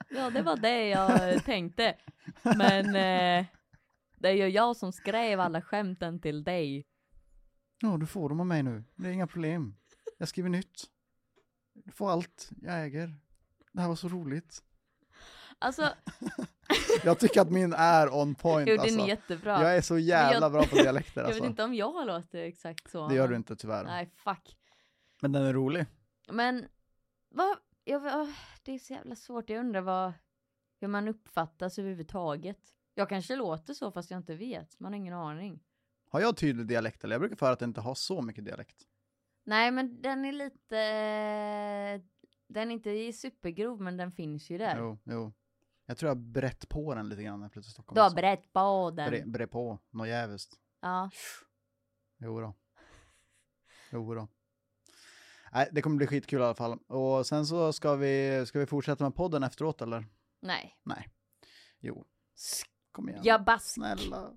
Speaker 2: Ja, det var det jag eh, tänkte. Men eh, det är ju jag som skrev alla skämten till dig.
Speaker 1: Ja, du får dem av mig nu. Det är inga problem. Jag skriver nytt. Du får allt jag äger. Det här var så roligt.
Speaker 2: Alltså,
Speaker 1: Jag tycker att min är on point.
Speaker 2: jo, den
Speaker 1: alltså.
Speaker 2: är jättebra.
Speaker 1: Jag är så jävla
Speaker 2: jag-
Speaker 1: bra på dialekter.
Speaker 2: Jag vet
Speaker 1: Alltså.
Speaker 2: inte om jag låter exakt så.
Speaker 1: Det gör
Speaker 2: men-
Speaker 1: du inte tyvärr.
Speaker 2: Nej, fuck.
Speaker 1: Men den är rolig.
Speaker 2: Men, vad, jag, ah, det är så jävla svårt. Jag undrar vad, hur man uppfattas överhuvudtaget. Jag kanske låter så fast jag inte vet. Man har ingen aning.
Speaker 1: Har jag tydlig dialekt eller? Jag brukar för att jag inte har så mycket dialekt.
Speaker 2: Nej, men den är lite... Den är inte supergrov, men den finns ju där.
Speaker 1: Jo, jo. Jag tror jag brett på den lite grann när jag flyttade till Stockholm.
Speaker 2: Du har
Speaker 1: alltså.
Speaker 2: brett på den.
Speaker 1: Bre- brett på, något jävligt.
Speaker 2: Ja.
Speaker 1: Jo då. Jo då. Nej, det kommer bli skitkul i alla fall. Och sen så ska vi, ska vi fortsätta med podden efteråt eller?
Speaker 2: Nej.
Speaker 1: Jo. Kom igen.
Speaker 2: Jag bask.
Speaker 1: Snälla.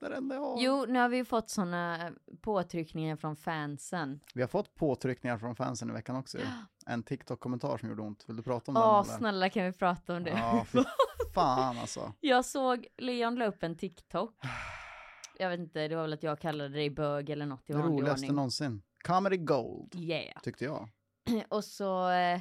Speaker 1: Det är det enda jag har.
Speaker 2: Jo, nu har vi ju fått såna påtryckningar från fansen.
Speaker 1: Vi har fått påtryckningar från fansen i veckan också. ju. En TikTok-kommentar som gjorde ont. Vill du prata om
Speaker 2: Åh,
Speaker 1: den?
Speaker 2: snälla kan vi prata om det?
Speaker 1: Ja, fy fan alltså.
Speaker 2: Jag såg Leon la upp en TikTok. Jag vet inte, det var väl att jag kallade dig bög eller något i
Speaker 1: Det
Speaker 2: vanlig
Speaker 1: roligaste
Speaker 2: ordning.
Speaker 1: någonsin. Comedy gold,
Speaker 2: Yeah.
Speaker 1: tyckte jag.
Speaker 2: Och så... eh,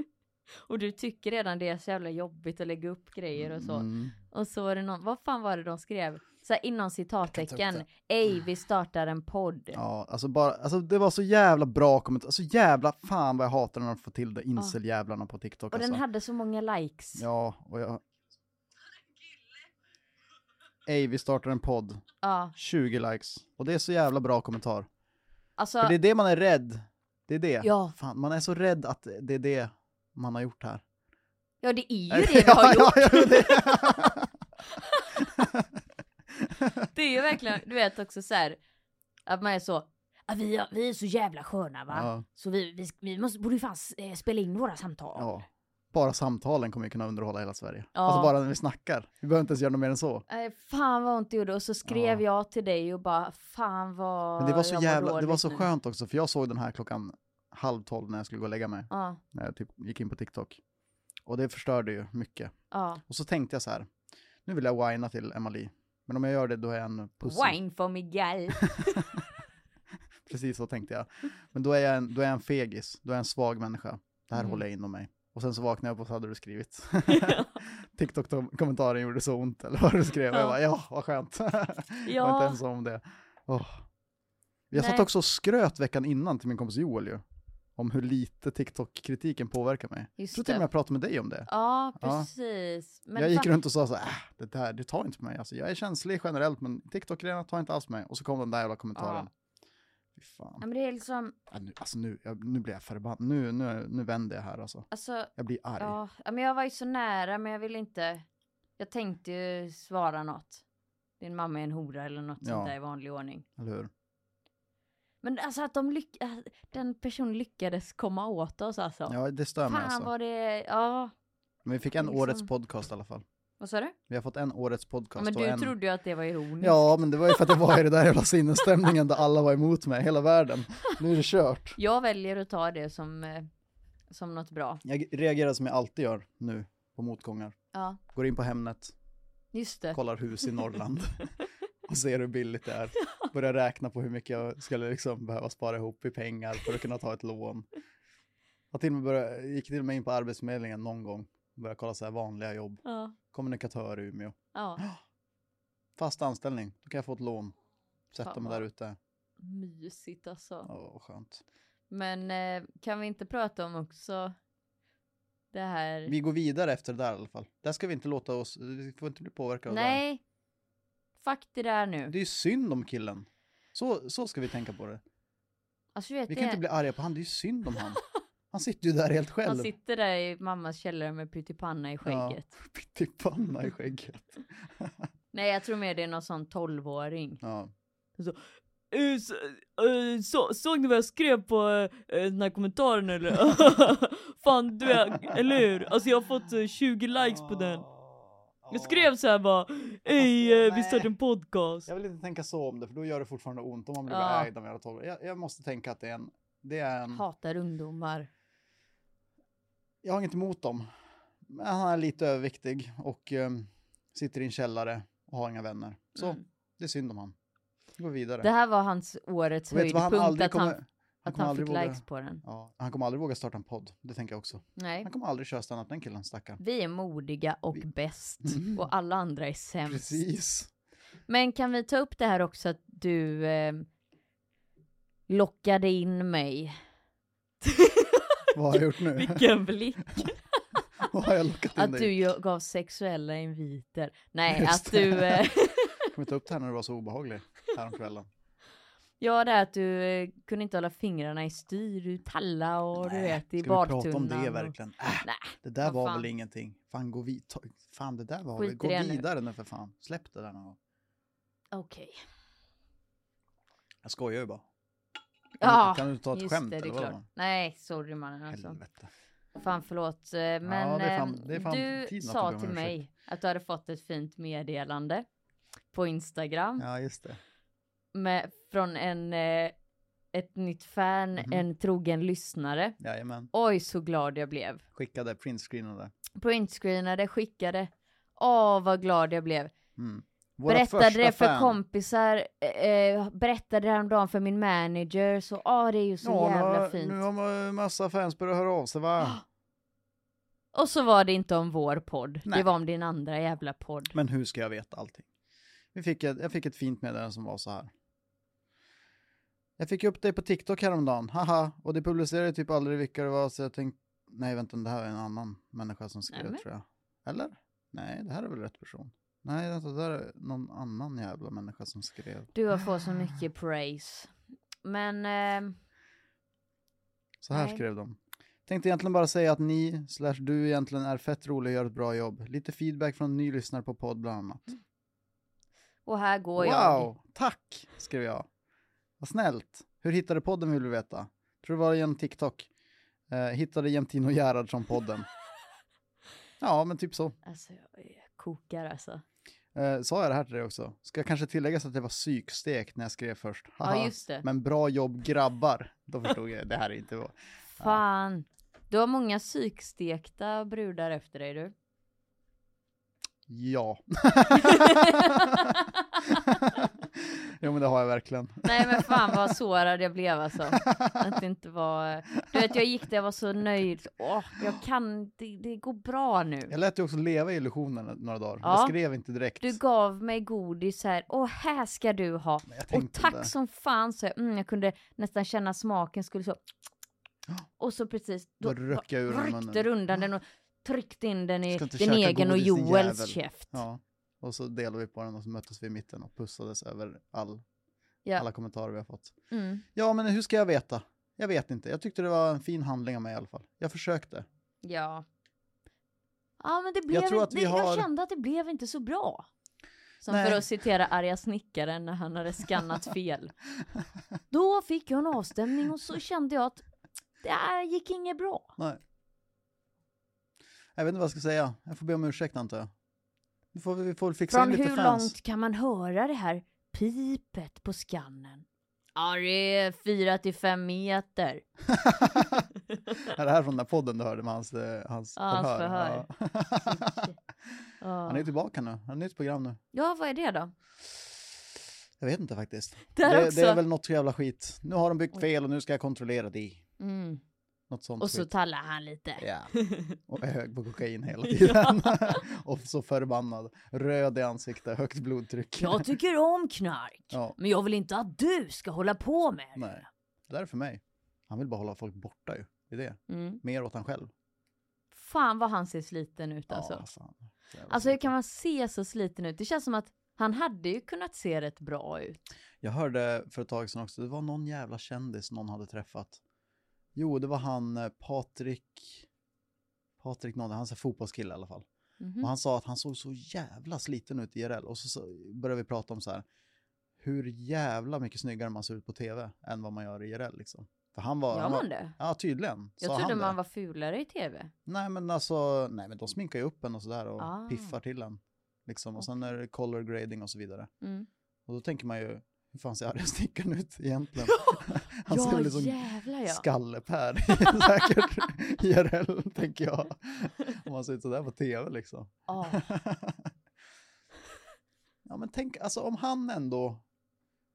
Speaker 2: och du tycker redan det är så jävla jobbigt att lägga upp grejer och så.
Speaker 1: Mm.
Speaker 2: Och så var det någon, vad fan var det de skrev? Så här, inom
Speaker 1: Jag kan
Speaker 2: citattecken,
Speaker 1: ta upp
Speaker 2: ej vi startar en podd.
Speaker 1: Ja, alltså bara, alltså det var så jävla bra kommentar. Så jävla fan vad jag hatar när de får till det, inseljävlarna på TikTok.
Speaker 2: och den
Speaker 1: alltså.
Speaker 2: hade så många likes.
Speaker 1: Ja, och jag... Ey, vi startar en podd.
Speaker 2: Ja,
Speaker 1: 20 likes. Och det är så jävla bra kommentar.
Speaker 2: alltså,
Speaker 1: För det är det man är rädd. Det är det.
Speaker 2: Ja.
Speaker 1: Fan, man är så rädd att det är det man har gjort här.
Speaker 2: ja det är ju det vi
Speaker 1: ja,
Speaker 2: har gjort.
Speaker 1: ja, det.
Speaker 2: Det är ju verkligen, du vet också så här, att man är så, "Ja, vi, har- vi är så jävla sköna va?
Speaker 1: Ja.
Speaker 2: Så vi, vi, vi måste, borde ju fan s- eh, spela in våra samtal.
Speaker 1: ja. Bara samtalen kommer ju kunna underhålla hela Sverige.
Speaker 2: Ja.
Speaker 1: Alltså bara när vi snackar. Vi behöver inte ens göra något mer än så.
Speaker 2: Nej, fan vad ont det gjorde och så skrev jag till dig och bara fan vad
Speaker 1: Men det var så
Speaker 2: jag mår
Speaker 1: jävla, det var
Speaker 2: dåligt
Speaker 1: så
Speaker 2: nu."
Speaker 1: skönt också, för jag såg den här klockan halv tolv när jag skulle gå och lägga mig.
Speaker 2: Ja,
Speaker 1: När jag typ gick in på TikTok. Och det förstörde ju mycket.
Speaker 2: ja.
Speaker 1: Och så tänkte jag så här, nu vill jag whina till Emma Lee. Men om jag gör det då är jag en pussy.
Speaker 2: Wine for Miguel.
Speaker 1: Precis så tänkte jag. Men då är jag en, då är jag en fegis, då är jag en svag människa. Det här
Speaker 2: Mm.
Speaker 1: håller jag inom mig. Och sen så vaknade jag upp och så hade du skrivit. TikTok-kommentaren gjorde så ont, eller vad du skrev.
Speaker 2: Ja.
Speaker 1: Jag bara, ja, vad skönt. jag var
Speaker 2: Ja.
Speaker 1: inte ensam om det. Åh. Jag satt
Speaker 2: Nej.
Speaker 1: också och skröt veckan innan till min kompis Joel ju. Om hur lite TikTok-kritiken påverkar mig. Jag
Speaker 2: Just
Speaker 1: tror till och
Speaker 2: det.
Speaker 1: med jag pratade med dig om det.
Speaker 2: Ja,
Speaker 1: Ja.
Speaker 2: precis. Men
Speaker 1: jag gick
Speaker 2: fan-
Speaker 1: runt och sa så här, äh, det där, det tar inte på mig. Alltså, jag är känslig generellt, men TikTok-grejerna tar inte alls på mig. Och så kom den där jävla kommentaren. Fy fan.
Speaker 2: Ja, men det är liksom,
Speaker 1: Ja, nu, alltså nu, jag, nu blir jag förbannad. Nu, nu, nu vänder jag här alltså.
Speaker 2: alltså,
Speaker 1: Jag blir arg.
Speaker 2: ja, ja, men jag var ju så nära men jag ville inte, jag tänkte ju svara något. Din mamma är en hora eller något
Speaker 1: Ja.
Speaker 2: sånt där i vanlig ordning.
Speaker 1: Eller hur?
Speaker 2: Men alltså att de lyck- äh, den personen lyckades komma åt oss alltså.
Speaker 1: Ja, det stör mig
Speaker 2: Fan
Speaker 1: alltså.
Speaker 2: vad det, ja,
Speaker 1: Men vi fick en
Speaker 2: liksom-
Speaker 1: årets podcast i alla fall.
Speaker 2: vad sa du?
Speaker 1: Vi har fått en årets
Speaker 2: Ja,
Speaker 1: podcast.
Speaker 2: men
Speaker 1: och
Speaker 2: du
Speaker 1: en...
Speaker 2: trodde ju att det var ironiskt.
Speaker 1: Ja, men det var ju för att jag var i den där jävla sinnesstämningen där alla var emot mig, hela världen. Nu är det kört.
Speaker 2: Jag väljer att ta det som, eh, som något bra.
Speaker 1: Jag reagerar som jag alltid gör nu på motgångar.
Speaker 2: Ja,
Speaker 1: Går in på Hemnet,
Speaker 2: just det.
Speaker 1: kollar hus i Norrland och ser hur billigt det är. Börjar räkna på hur mycket jag skulle liksom behöva spara ihop i pengar för att kunna ta ett lån. Jag till och med började, gick till och med in på Arbetsförmedlingen någon gång och började kolla så här vanliga jobb.
Speaker 2: Ja,
Speaker 1: Kommunikatör i Umeå.
Speaker 2: ja.
Speaker 1: Fast anställning, då kan jag få ett lån. Sätta
Speaker 2: Fan
Speaker 1: mig
Speaker 2: vad-
Speaker 1: där ute.
Speaker 2: Mysigt alltså.
Speaker 1: Åh, vad skönt.
Speaker 2: Men eh, kan vi inte prata om också det här?
Speaker 1: Vi går vidare efter det där i alla fall. Där ska vi inte låta oss, vi får inte bli påverkade av
Speaker 2: Nej. Fuck det där
Speaker 1: det.
Speaker 2: nu.
Speaker 1: Det är ju synd om killen. Så, så ska vi tänka på det.
Speaker 2: Alltså du vet,
Speaker 1: Vi kan inte
Speaker 2: det,
Speaker 1: bli arga på han, det är ju synd om han. Han sitter ju där helt själv.
Speaker 2: han sitter där i mammas källare med pyttipanna i skägget.
Speaker 1: Pyttipanna i skägget.
Speaker 2: Nej, jag tror mer det är någon sån tolvåring.
Speaker 1: Ja.
Speaker 2: Så, eh, såg ni vad jag skrev på eh, den här kommentaren eller? Fan, du eller hur? Alltså jag har fått 20
Speaker 1: Ah. Ja.
Speaker 2: så här bara, Alltså,
Speaker 1: "Ey, eh, vi startar
Speaker 2: en podcast.
Speaker 1: Jag vill inte tänka så om det, för då gör det fortfarande ont om man blir
Speaker 2: Ja.
Speaker 1: ägd av en jävla tolvåring. Jag, jag måste tänka att det är en... Det är en
Speaker 2: Hatar ungdomar.
Speaker 1: jag har inget emot dem. Men han är lite överviktig och eh, sitter i en källare och har inga vänner. Så,
Speaker 2: Mm.
Speaker 1: det är synd om han. Vi går vidare.
Speaker 2: Det här var hans årets
Speaker 1: Och vet du vad
Speaker 2: höjdpunkt,
Speaker 1: han
Speaker 2: att,
Speaker 1: aldrig kommer...
Speaker 2: han, att
Speaker 1: kommer
Speaker 2: han
Speaker 1: aldrig
Speaker 2: fick
Speaker 1: våga-
Speaker 2: likes på den.
Speaker 1: Ja, han kommer aldrig våga starta en podd, det tänker jag också.
Speaker 2: Nej.
Speaker 1: Han kommer aldrig köra stand-up, den killen, stackarn.
Speaker 2: Vi är modiga och
Speaker 1: Vi-
Speaker 2: bäst
Speaker 1: Mm.
Speaker 2: och alla andra är sämst.
Speaker 1: Precis.
Speaker 2: Men kan vi ta upp det här också att du eh, lockade in mig?
Speaker 1: Vad har jag gjort nu?
Speaker 2: Vilken blick!
Speaker 1: Vad har jag lockat in
Speaker 2: Att
Speaker 1: dig
Speaker 2: du
Speaker 1: i?
Speaker 2: ju- gav sexuella inviter. Nej,
Speaker 1: Just
Speaker 2: att
Speaker 1: det.
Speaker 2: du... Eh,
Speaker 1: Kommer ta upp det här när du var så obehaglig häromkvällen.
Speaker 2: ja, det är att du eh, kunde inte hålla fingrarna i styr, du talla och du
Speaker 1: Nej,
Speaker 2: vet i
Speaker 1: Ska vi
Speaker 2: badtunnan.
Speaker 1: prata om det
Speaker 2: och-
Speaker 1: verkligen? Äh,
Speaker 2: Nej,
Speaker 1: det där
Speaker 2: vad
Speaker 1: var
Speaker 2: fan.
Speaker 1: väl ingenting. Fan, gå, vid, ta, fan det där var
Speaker 2: Skit
Speaker 1: väl,
Speaker 2: i
Speaker 1: gå
Speaker 2: det nu.
Speaker 1: vidare nu för fan. Släpp det där någon gång.
Speaker 2: Okej.
Speaker 1: Jag skojar ju bara. Kan,
Speaker 2: Ja,
Speaker 1: du, kan du ta ett
Speaker 2: just
Speaker 1: skämt
Speaker 2: det, det
Speaker 1: eller
Speaker 2: är
Speaker 1: vad?
Speaker 2: klart. Nej, sorry mannen alltså.
Speaker 1: Helvete.
Speaker 2: Fan förlåt. eh, Men
Speaker 1: det är
Speaker 2: eh,
Speaker 1: fan- det är fan
Speaker 2: du
Speaker 1: tiden att be
Speaker 2: sa
Speaker 1: om
Speaker 2: till
Speaker 1: ursäkt.
Speaker 2: mig att du hade fått ett fint meddelande på Instagram
Speaker 1: Ja, just det.
Speaker 2: med, från en, eh, ett nytt fan,
Speaker 1: Mhm.
Speaker 2: en trogen lyssnare.
Speaker 1: Jajamän.
Speaker 2: Oj, så glad jag blev.
Speaker 1: Skickade printscreenade.
Speaker 2: Printscreenade, skickade. Åh, vad glad jag blev.
Speaker 1: Mm. Vårat
Speaker 2: Berättade
Speaker 1: första
Speaker 2: det för
Speaker 1: fan.
Speaker 2: kompisar, eh, eh, berättade det häromdagen för min manager, så åh, det är ju så
Speaker 1: Ja, nu
Speaker 2: jävla
Speaker 1: har-
Speaker 2: fint.
Speaker 1: Nu har ma- massa fans börjat höra av sig va?
Speaker 2: Och så var det inte om vår podd,
Speaker 1: Nej.
Speaker 2: det var om din andra jävla podd.
Speaker 1: Men hur ska jag veta allting? Vi fick ett, jag fick ett fint meddelande som var så här. Jag fick upp dig på TikTok häromdagen, haha, och det publicerade typ aldrig vilka det var så jag tänkte, nej vänta, det här är en annan människa som skrev
Speaker 2: Nämen.
Speaker 1: tror jag. Eller? Nej, det här är väl rätt person. Nej, vänta, det där är någon annan jävla människa som skrev.
Speaker 2: Du har fått så mycket
Speaker 1: Ah.
Speaker 2: praise. Men ehm,
Speaker 1: Så här
Speaker 2: Nej.
Speaker 1: skrev de. Tänkte egentligen bara säga att ni, slash du egentligen är fett rolig och gör ett bra jobb. Lite feedback från en ny lyssnare på podd bland annat.
Speaker 2: och här går jag.
Speaker 1: Wow, tack, skrev jag. Vad snällt. Hur hittade podden vill du veta? Tror det var genom TikTok. Eh, hittade Jämtin och Gerhard som podden. ja, men typ så.
Speaker 2: Alltså jag är- kokar alltså.
Speaker 1: Eh, sa jag det här till dig också? Ska jag kanske tillägga så att det var psykstekt när jag skrev först. Haha.
Speaker 2: Ja just det.
Speaker 1: Men bra jobb grabbar. Då förstod jag, det här är inte vad.
Speaker 2: Fan. Du har många psykstekta brudar efter dig du.
Speaker 1: Ja. jo, men det har jag verkligen.
Speaker 2: Nej men fan vad sårad jag blev alltså. Att det inte var... Du vet jag gick där jag var så nöjd. Åh, jag kan... Det, det går bra nu.
Speaker 1: Jag lät dig också leva i illusionen några dagar.
Speaker 2: Ja.
Speaker 1: Jag skrev inte direkt.
Speaker 2: Du gav mig godis här. Åh här ska du ha.
Speaker 1: Men jag
Speaker 2: Och
Speaker 1: tänkte
Speaker 2: tack
Speaker 1: det.
Speaker 2: som fan så jag, mm, jag kunde nästan känna smaken skulle så.
Speaker 1: Ja.
Speaker 2: Och så precis,
Speaker 1: Då
Speaker 2: då
Speaker 1: röck jag ur den munnen.
Speaker 2: ryckte du undan den och tryckte in den i
Speaker 1: Ska inte
Speaker 2: din
Speaker 1: käka
Speaker 2: egen och
Speaker 1: godis, din
Speaker 2: Joels
Speaker 1: jävel.
Speaker 2: käft.
Speaker 1: Ja, och så delade vi på den och så möttes vi i mitten och pussades över all,
Speaker 2: Ja.
Speaker 1: alla kommentarer vi har fått.
Speaker 2: Mm.
Speaker 1: Ja, men hur ska jag veta? Jag vet inte. Jag tyckte det var en fin handling av mig i alla fall. Jag försökte.
Speaker 2: ja. Ja men det blev
Speaker 1: tror att
Speaker 2: inte,
Speaker 1: vi har-
Speaker 2: jag kände att det blev inte så bra. Som
Speaker 1: Nej.
Speaker 2: för att citera arga snickaren när han hade skannat fel. Då fick jag en avstämning och så kände jag att det här gick inget bra.
Speaker 1: Nej. Jag vet inte vad jag ska säga. Jag får be om ursäkt antar jag. Nu får vi, vi får väl fixa
Speaker 2: Från
Speaker 1: in lite
Speaker 2: hur
Speaker 1: fans.
Speaker 2: långt kan man höra det här pipet på skannen? Ja, det är fyra till fem meter.
Speaker 1: är det här från den där podden du hörde med hans, eh, hans
Speaker 2: Ja, hans
Speaker 1: förhör? Ja.
Speaker 2: Ja.
Speaker 1: Han är tillbaka nu. Han har ett nytt program nu.
Speaker 2: Ja, vad är det då?
Speaker 1: Jag vet inte faktiskt.
Speaker 2: Där
Speaker 1: det,
Speaker 2: också.
Speaker 1: det är väl något jävla skit. Nu har de byggt fel och nu ska jag kontrollera det.
Speaker 2: Mm.
Speaker 1: Något sånt
Speaker 2: Och så
Speaker 1: skit.
Speaker 2: tallar han lite.
Speaker 1: Ja. Och är hög på kokain hela tiden. och så förbannad. Röd i ansiktet, högt blodtryck.
Speaker 2: Jag tycker om knark,
Speaker 1: Ja,
Speaker 2: men jag vill inte att du ska hålla på med det.
Speaker 1: nej. Det där är för mig. Han vill bara hålla folk borta ju. Det är det.
Speaker 2: Mm.
Speaker 1: Mer åt han själv.
Speaker 2: Fan vad han ser sliten ut alltså.
Speaker 1: Ja, alltså, han- så jävla
Speaker 2: Alltså hur
Speaker 1: sliten.
Speaker 2: kan man se så sliten ut? Det känns som att han hade ju kunnat se rätt bra ut.
Speaker 1: Jag hörde för ett tag sedan också, det var någon jävla kändis någon hade träffat. Jo, det var han eh, Patrik... Patrik någon, han är en fotbollskille i alla fall.
Speaker 2: Mhm.
Speaker 1: Och han sa att han såg så jävla sliten ut i IRL. Och så, så började vi prata om så här, hur jävla mycket snyggare man ser ut på tv än vad man gör i IRL liksom. För han var...
Speaker 2: Gör
Speaker 1: han var-
Speaker 2: man det?
Speaker 1: Ja, tydligen. sa
Speaker 2: Jag trodde
Speaker 1: han
Speaker 2: man
Speaker 1: det.
Speaker 2: var fulare i tv.
Speaker 1: Nej, men alltså, nej men de sminkar ju upp en och sådär och
Speaker 2: Ah.
Speaker 1: piffar till en. Liksom. Och sen
Speaker 2: Okej.
Speaker 1: är det color grading och så vidare.
Speaker 2: Mm.
Speaker 1: Och då tänker man ju, hur fan ser arga snickaren ut egentligen? Han liksom ser
Speaker 2: Ja,
Speaker 1: väl ut som
Speaker 2: jävlar ja.
Speaker 1: skallepär säkert IRL, tänker jag. Om man ser ut sådär på tv liksom.
Speaker 2: Ja.
Speaker 1: ja men tänk, alltså om han ändå,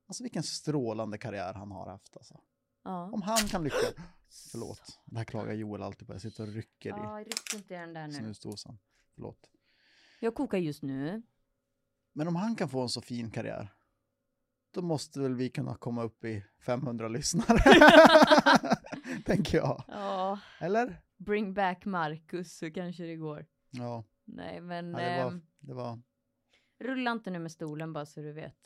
Speaker 1: alltså vilken strålande karriär han har haft alltså.
Speaker 2: ja.
Speaker 1: Om han kan lyckas, förlåt, det här klagar Joel alltid på, jag sitter och rycker
Speaker 2: Ja, ryck inte i den där
Speaker 1: i
Speaker 2: nu.
Speaker 1: snusdosan. Förlåt.
Speaker 2: Jag kokar just nu.
Speaker 1: Men om han kan få en så fin karriär, då måste väl vi kunna komma upp i 500 lyssnare. Tänker jag.
Speaker 2: Ja,
Speaker 1: Eller?
Speaker 2: bring back Marcus så kanske det går.
Speaker 1: Ja,
Speaker 2: Nej, men
Speaker 1: ja det, var,
Speaker 2: ehm,
Speaker 1: det var...
Speaker 2: rulla inte nu med stolen bara så du vet.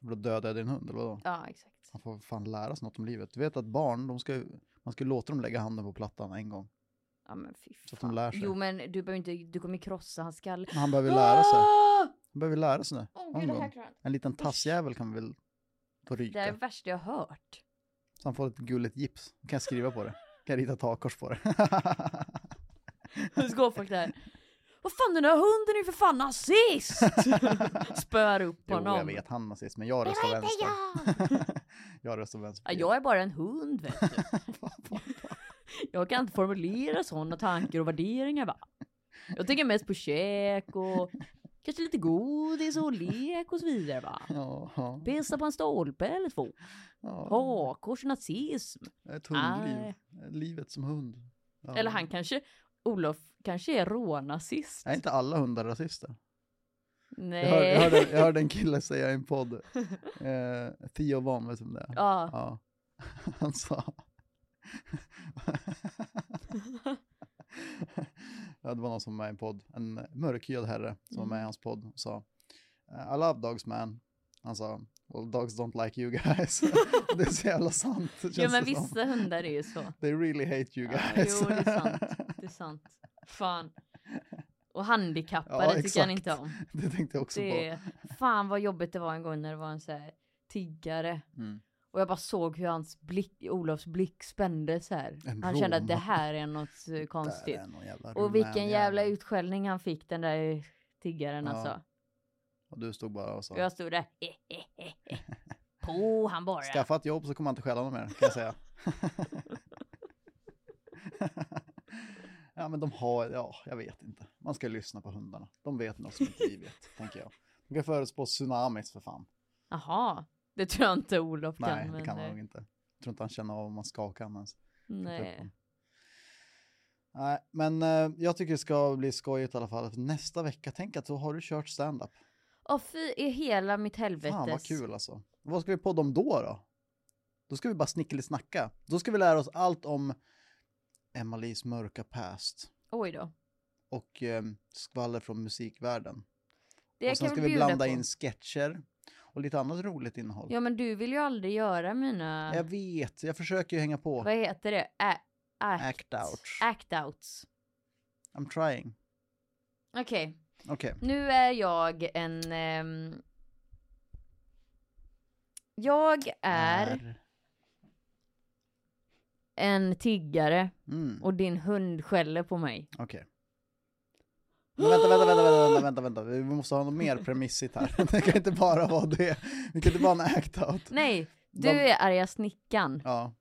Speaker 1: Då dödade jag din hund, eller vadå?
Speaker 2: Ja, exakt.
Speaker 1: Man får fan lära sig något om livet. Du vet att barn, de ska, ju- man ska ju låta dem lägga handen på plattan en gång.
Speaker 2: Ja, men fy fan.
Speaker 1: Så att de lär sig.
Speaker 2: Jo, men du behöver inte, du kommer krossa hans skalle.
Speaker 1: Men han behöver ju lära sig.
Speaker 2: Ah!
Speaker 1: Han behöver ju lära sig nu.
Speaker 2: Åh,
Speaker 1: Någon
Speaker 2: gud, det
Speaker 1: gång.
Speaker 2: här klarar jag inte.
Speaker 1: En liten tassjävel kan väl få
Speaker 2: Det här är
Speaker 1: ryka.
Speaker 2: det värsta jag har hört.
Speaker 1: Så han får ett gulligt gips. Då kan jag skriva på det. Då Kan jag rita takkors på det.
Speaker 2: Nu går folk där. Vad fan den där hunden är ju för fan nazist! Spöar upp
Speaker 1: jo,
Speaker 2: honom.
Speaker 1: jag vet, han är nazist, men jag röstar vänster. jag röstar
Speaker 2: Ja,
Speaker 1: vänster.
Speaker 2: jag är bara en hund vet du. Jag kan inte formulera sådana tankar och värderingar va. Jag tänker mest på käk och kanske lite godis och lek och så vidare va.
Speaker 1: Ja, ja,
Speaker 2: Pissa på en stolpe eller två.
Speaker 1: ja.
Speaker 2: Hakkors och nazism.
Speaker 1: Ett hundliv.
Speaker 2: Nej.
Speaker 1: Livet som hund. Ja.
Speaker 2: Eller han kanske, Olof kanske är rånazist.
Speaker 1: Är inte alla hundar rasister? Jag, hör, jag,
Speaker 2: Nej.
Speaker 1: hörde, jag hörde en kille säga i en podd, eh, Theo Von, vet du vem det är?
Speaker 2: Ja.
Speaker 1: Ja. Han sa... ja, det var någon som var med i en podd, en mörkhyad herre som var med
Speaker 2: Mm.
Speaker 1: i hans podd och sa "Eh, I love dogs man. Han sa Well dogs don't like you guys. det är så jävla sant. Känns
Speaker 2: Ja men
Speaker 1: det som.
Speaker 2: vissa hundar är ju så.
Speaker 1: They really hate you
Speaker 2: Ja,
Speaker 1: guys.
Speaker 2: jo, det är sant. Det är sant. Fan. Och handikappade
Speaker 1: Ja,
Speaker 2: tycker han
Speaker 1: exakt.
Speaker 2: inte om.
Speaker 1: det tänkte jag också
Speaker 2: Det
Speaker 1: på.
Speaker 2: är, fan vad jobbigt det var en gång när det var en så här tiggare.
Speaker 1: Mm.
Speaker 2: Och jag bara såg hur hans blick, Olofs blick spände så här.
Speaker 1: En
Speaker 2: Han kände att
Speaker 1: rom.
Speaker 2: det här är något eh,
Speaker 1: Där är
Speaker 2: konstigt.
Speaker 1: någon jävla
Speaker 2: Och vilken
Speaker 1: rumän
Speaker 2: jävla
Speaker 1: jävel.
Speaker 2: utskällning han fick den där tiggaren
Speaker 1: Ja.
Speaker 2: alltså.
Speaker 1: Och du stod bara och sa
Speaker 2: Och jag stod där. "Eh, eh, eh, eh." På han bara.
Speaker 1: Skaffa ett jobb så kommer han inte stjäla något mer, kan jag säga. ja, men de har, ja, jag vet inte. Man ska lyssna på hundarna. De vet något som inte vi vet, tänker jag. De kan förutspå tsunamis för fan.
Speaker 2: Jaha. Det tror jag inte Olof kan.
Speaker 1: Nej, det
Speaker 2: men,
Speaker 1: kan
Speaker 2: eh,
Speaker 1: man nog inte. Jag tror inte han känner av om man skakar honom ens. typ
Speaker 2: Nej.
Speaker 1: Nej, men eh, jag tycker det ska bli skojigt i alla fall. För nästa vecka, tänk att då har du kört stand-up.
Speaker 2: Åh fy i hela mitt helvetes.
Speaker 1: Fan vad kul alltså. Vad ska vi podda om då då? Då ska vi bara snickelisnacka. Då ska vi lära oss allt om Emelies mörka past
Speaker 2: Oj då.
Speaker 1: och eh, skvaller från musikvärlden.
Speaker 2: Det
Speaker 1: och sen
Speaker 2: kan
Speaker 1: ska vi
Speaker 2: vi bjuda
Speaker 1: blanda
Speaker 2: på.
Speaker 1: in sketcher och lite annat roligt innehåll.
Speaker 2: Ja men du vill ju aldrig göra mina,
Speaker 1: Jag vet, jag försöker ju hänga på.
Speaker 2: vad heter det? Ä- act,
Speaker 1: Act outs.
Speaker 2: Act outs.
Speaker 1: I'm trying.
Speaker 2: Okej,
Speaker 1: Okej,
Speaker 2: nu är jag en... ehm, Jag är en tiggare
Speaker 1: Mm,
Speaker 2: och din hund skäller på mig.
Speaker 1: okej. Men vänta, vänta, vänta, vänta, vänta, vänta, vänta, vi måste ha något mer premissigt här. Det kan inte bara vara det. Det kan inte bara vara en act-out.
Speaker 2: Nej, du
Speaker 1: De-
Speaker 2: är arga snickan.
Speaker 1: Ja.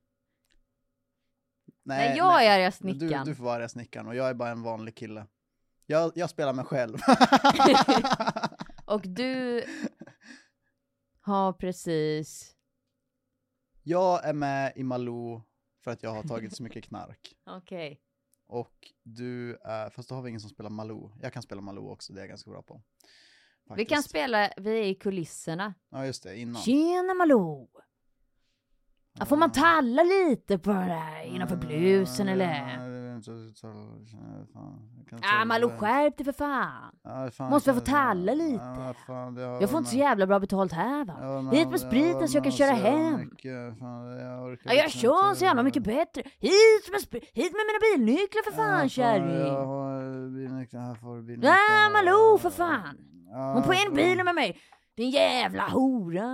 Speaker 2: Nej, jag är arga snickan.
Speaker 1: Du, du får vara arga snickaren och jag är bara en vanlig kille. Jag, jag spelar mig själv.
Speaker 2: Och du har precis...
Speaker 1: jag är med i Malou för att jag har tagit så mycket knark.
Speaker 2: Okej.
Speaker 1: Och du är, fast då har vi ingen som spelar Malou. Jag kan spela Malou också, det är jag ganska bra på.
Speaker 2: Vi
Speaker 1: Faktiskt.
Speaker 2: kan spela, vi är i kulisserna.
Speaker 1: Ja just det, innan.
Speaker 2: Tjena Malou! Ja, får man
Speaker 1: Ah.
Speaker 2: talla lite på det här innanför blusen
Speaker 1: Mm, Ah,
Speaker 2: eller? Ja, Malou
Speaker 1: eh,
Speaker 2: skärp dig för fan. Måste jag få talla lite? Jag får inte så jävla bra betalt här va. Hit
Speaker 1: alltså,
Speaker 2: med spriten så jag kan köra hem. Ja,
Speaker 1: liksom
Speaker 2: jag kör så jävla mycket bättre. Hit med, sp- hit med mina bilnycklar för fan
Speaker 1: Jag
Speaker 2: kärring.
Speaker 1: har bilnyckeln, här får du bilnyckeln.
Speaker 2: Ja, Malou för fan.
Speaker 1: Ja,
Speaker 2: Hon på en
Speaker 1: fan.
Speaker 2: bilen med mig. Din jävla hora.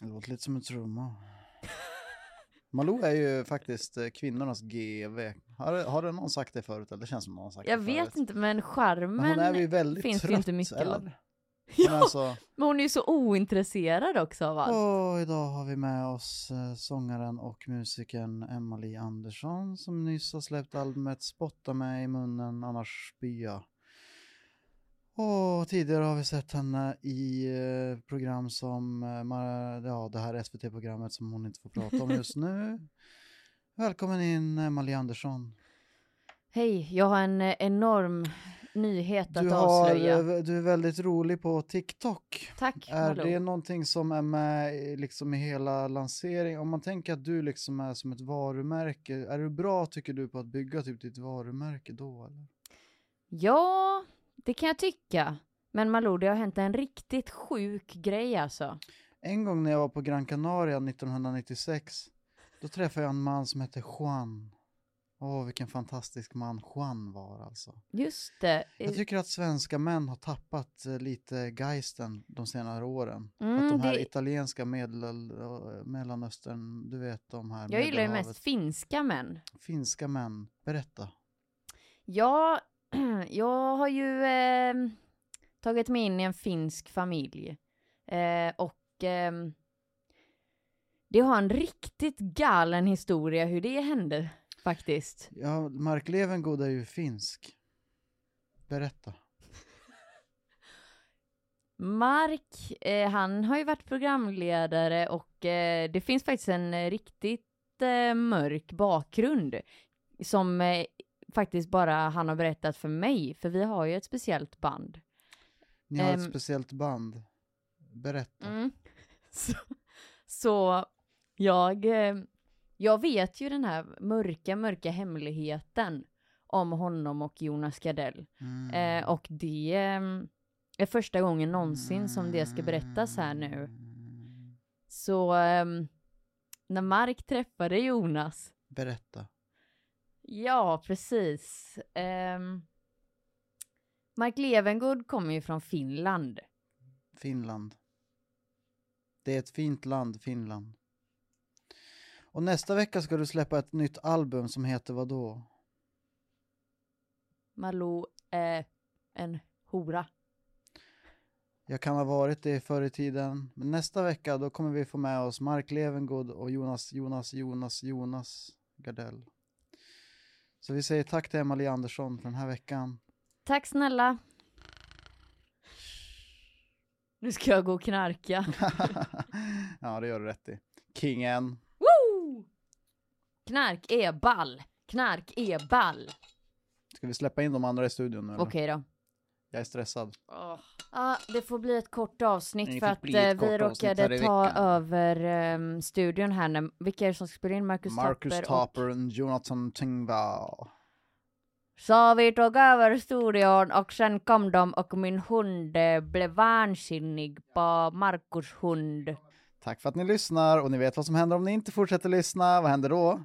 Speaker 1: Det låter lite som en trumma. Malou är ju faktiskt eh, kvinnornas GV. Har, har det någon sagt det förut? Eller det känns som någon har sagt
Speaker 2: Jag
Speaker 1: det förut.
Speaker 2: vet inte men
Speaker 1: Men hon
Speaker 2: charmen.
Speaker 1: är ju väldigt
Speaker 2: finns det
Speaker 1: trött.
Speaker 2: ju inte mycket
Speaker 1: eller? alltså-
Speaker 2: av.
Speaker 1: Hon
Speaker 2: Ja.
Speaker 1: är så,
Speaker 2: Men hon är ju så ointresserad också av allt.
Speaker 1: Åh, idag har vi med oss eh, sångaren och musikern Emily Andersson som nyss har släppt albumet Spotta mig i munnen annars spya. Och tidigare har vi sett henne i eh, program som, eh, Mar- ja det här SVT-programmet som hon inte får prata om just nu. Välkommen in Emily Andersson.
Speaker 2: Hej, jag har en eh, enorm nyhet att
Speaker 1: Du, har,
Speaker 2: avslöja.
Speaker 1: eh, du är väldigt rolig på TikTok.
Speaker 2: Tack,
Speaker 1: Är
Speaker 2: Malou.
Speaker 1: det någonting som är med i- liksom i hela lanseringen? Om man tänker att du liksom är som ett varumärke, är du bra tycker du på att bygga typ ditt varumärke då? Eller?
Speaker 2: Ja, det kan jag tycka. Men Malou, det har hänt en riktigt sjuk grej alltså.
Speaker 1: En gång när jag var på Gran Canaria 1996, då träffade jag en man som hette Juan. Åh, vilken fantastisk man Juan var alltså.
Speaker 2: Just det. eh,
Speaker 1: Jag tycker att svenska män har tappat eh, lite geisten de senare åren. att
Speaker 2: Mm,
Speaker 1: de här
Speaker 2: det,
Speaker 1: italienska medel, eh, mellanöstern, du vet de här
Speaker 2: jag gillar ju
Speaker 1: Medelhavet.
Speaker 2: mest finska män.
Speaker 1: finska män. Berätta.
Speaker 2: Ja, jag har ju eh, tagit mig in i en finsk familj. Eh, och ehm, det har en riktigt galen historia hur det hände faktiskt.
Speaker 1: Ja, Mark Levengood är ju finsk. Berätta.
Speaker 2: Mark, eh, han har ju varit programledare och eh, det finns faktiskt en eh, riktigt eh, mörk bakgrund som eh, faktiskt bara han har berättat för mig, för vi har ju ett speciellt band.
Speaker 1: Ni har ett
Speaker 2: Ehm.
Speaker 1: speciellt band. Berätta.
Speaker 2: mm, Så, så jag, eh, jag vet ju den här mörka, mörka hemligheten om honom och Jonas Gardell.
Speaker 1: Mm.
Speaker 2: Eh, och det eh, är första gången någonsin som det ska berättas här nu.
Speaker 1: Mm.
Speaker 2: Så ehm, när Mark träffade Jonas,
Speaker 1: Berätta.
Speaker 2: ja precis. Ehm, Mark Levengood kommer ju från Finland.
Speaker 1: Finland. Det är ett fint land, Finland. Och nästa vecka ska du släppa ett nytt album som heter vad då?
Speaker 2: Malou är en hora.
Speaker 1: Jag kan ha varit det förr i tiden. Men nästa vecka då kommer vi få med oss Mark Levengood och Jonas, Jonas, Jonas, Jonas Gardell. Så vi säger tack till Emily Andersson för den här veckan.
Speaker 2: Tack snälla. Nu ska jag gå och knarka.
Speaker 1: ja, det gör du rätt i. Kingen.
Speaker 2: Woo! Knark är ball. Knark är ball.
Speaker 1: Ska vi släppa in de andra i studion nu? eller?
Speaker 2: Okej då.
Speaker 1: Jag är stressad.
Speaker 2: Ja, det får bli ett kort avsnitt
Speaker 1: Det
Speaker 2: för
Speaker 1: får
Speaker 2: att
Speaker 1: bli
Speaker 2: eh,
Speaker 1: ett
Speaker 2: vi
Speaker 1: kort avsnitt här
Speaker 2: råkade
Speaker 1: i
Speaker 2: ta
Speaker 1: veckan.
Speaker 2: över ehm, studion här. När, vilka är det som spelar in? Marcus,
Speaker 1: Marcus
Speaker 2: Tapper och...
Speaker 1: Tapper och Jonathan Tengvall.
Speaker 2: Så vi tog över studion och sen kom de och min hund eh, blev vansinnig på Marcus hund.
Speaker 1: Tack för att ni lyssnar och ni vet vad som händer om ni inte fortsätter lyssna. Vad händer då?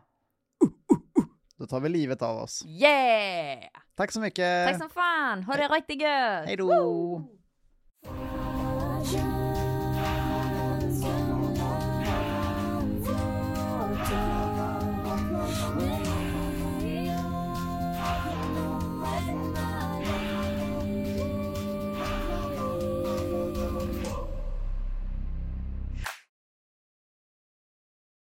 Speaker 1: Då tar vi livet av oss.
Speaker 2: Yeah!
Speaker 1: Tack så mycket. Eh.
Speaker 2: Tack som fan! Ha det riktigt gött!
Speaker 1: Hej då.
Speaker 3: Fragile.